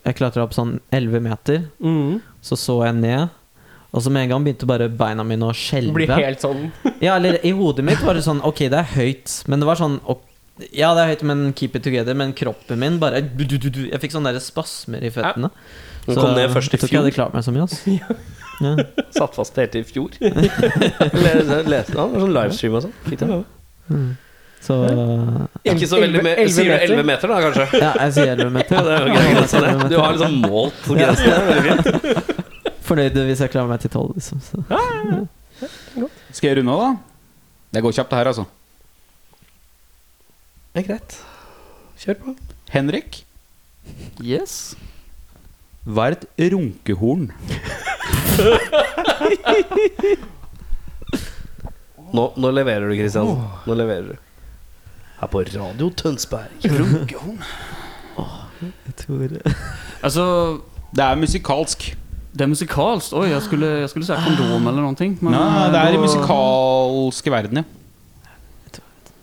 G: jeg klatra opp sånn 11 meter.
A: Mm.
G: Så så jeg ned, og så med en gang begynte bare beina mine å skjelve.
A: Blir helt sånn
G: Ja, eller i hodet mitt var det sånn Ok, det er høyt, men det var sånn ok, Ja, det er høyt, men keep it together. Men kroppen min bare du, du, du, du, Jeg fikk sånne der spasmer i føttene.
D: Den kom ned først i
G: jeg tror ikke jeg
D: fjor.
G: hadde klart meg så mye. altså. ass.
D: Satt fast helt til i fjor. Leste han, sånn livestream og sånn. Fikk det med meg.
G: Så eh,
D: Ikke så veldig mer.
A: Elleve- elleve
D: Sier du
A: meter?
D: 11 meter, da, kanskje?
G: Ja, jeg sier 11 meter.
D: Ja, det er jo grensa, det. Du har liksom målt grensene.
G: Fornøyd hvis jeg klarer meg til 12, liksom. Så.
C: Skal jeg runde av, da? Det går kjapt, det her, altså.
A: Det er greit. Kjør på.
C: Henrik,
F: Yes.
C: hva er et runkehorn?
D: Nå, nå leverer du, Kristian. Nå leverer du. Her på Radio Tønsberg.
G: Jeg tror
F: Altså,
C: Det er musikalsk.
F: det er musikalsk. Oi, jeg skulle, jeg skulle si kondom eller noe.
C: Nei, det er i musikalske verden, ja.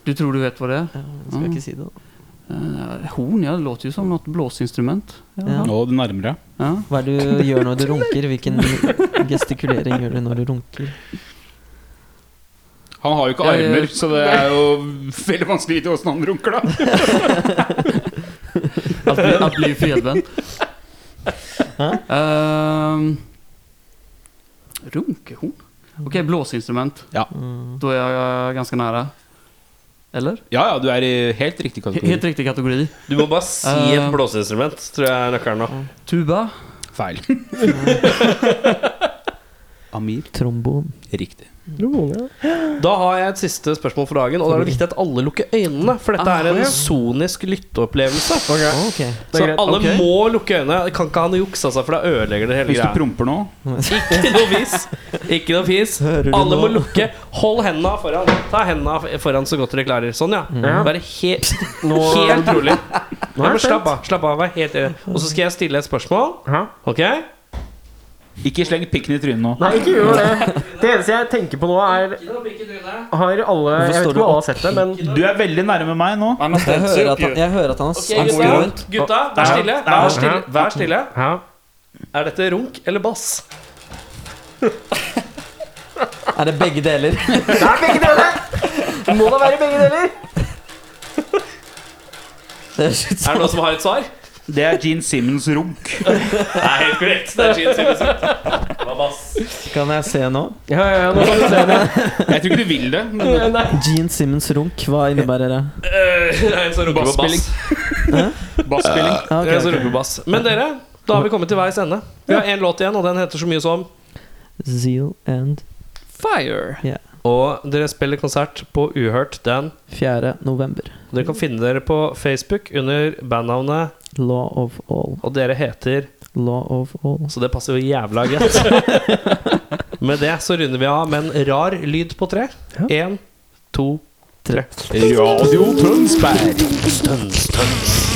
F: Du tror du vet hva det er?
G: Skal jeg ikke si det, da?
F: Eh, Horn, ja. Det låter jo som noe blåseinstrument.
G: Ja.
C: Nå er det nærmere.
F: Ja.
G: Hva er det du gjør når du runker? Hvilken gestikulering gjør du når du runker?
C: Han har jo ikke
F: Ja, ja, ja.
C: armer, så det er jo veldig vanskelig å vite åssen han runker, da.
F: Att bli, att bli felvänd. Ehm, runkehorn? Okej, blåsinstrument.
C: Ja.
F: Då är jag ganska nära. Eller?
C: Ja ja, du er i helt riktig
F: He-
C: kategori.
F: Helt riktig kategori.
D: Du må bare si et
G: Eh.
D: blåseinstrument, tror jeg er nøkkelen nå.
F: Tuba.
C: Feil. Amir.
G: Trombon.
C: Riktig.
D: Da har jeg et siste spørsmål for dagen, og da er det viktig at alle lukker øynene. For dette
G: Ah,
D: er en sonisk lytteopplevelse.
G: Ok.
D: Så
A: greit.
D: alle må lukke øynene. Jeg Kan ikke han juksa seg, altså, for da ødelegger det hele
C: Hvis du
D: greia.
C: promper nå
D: Ikke noe vis. Ikke noe fis.
G: Hører du
D: Alle må
G: nå?
D: lukke. Hold henda foran. Ta henda foran så godt dere klarer. Sånn, ja.
G: Mm.
D: Være helt, helt rolig. Ja, men slapp av. slapp av, vær helt rolig. Og så skal jeg stille et spørsmål. Ok?
C: Ikke sleng pikken i trynet nå.
A: Nei, ikke gjør det. Det eneste jeg tenker på nå, er Har alle Jeg vet
G: står
A: ikke
G: du
A: om alle har sett det, men
C: Du er veldig nærme meg nå.
G: Jeg hører at han, jeg hører at han har
D: Ok,
G: sagt
D: gutta,
G: rundt.
D: gutta, vær stille. Vær stille. Vær stille.
A: ja.
D: Er dette runk eller bass?
G: Er det begge deler?
A: Må da være begge deler!
G: Det er slutt.
D: Er det noen som har et svar?
C: Det er Gene Simmons runk.
D: Det er helt korrekt. Det er Gene Simmons. Det var bass.
G: Kan jeg se nå?
A: Ja, ja, ja, nå kan du se det.
C: Jeg tror ikke du vil det. men
G: Gene Simmons runk, hva innebærer det?
D: Eh, det er en som runker på bass.
C: Basspilling.
D: Det er en
G: Ah,
D: som
G: ok, ok.
D: runker på bass. Men dere, da har vi kommet til veis ende. Vi har én låt igjen, og den heter så mye som
G: Zeal and
D: Fire.
G: Ja.
D: Og dere spiller konsert på Uhørt den.
G: 4. november.
D: Dere kan finne dere på Facebook under bandnavnet,
G: Law of all.
D: og dere heter
G: Law of all.
D: Så det passer jo jævla greit. Med det så runder vi av med en rar lyd på tre. Én, to, tre.
C: Radio Tønsberg.
D: Stønn, stønn.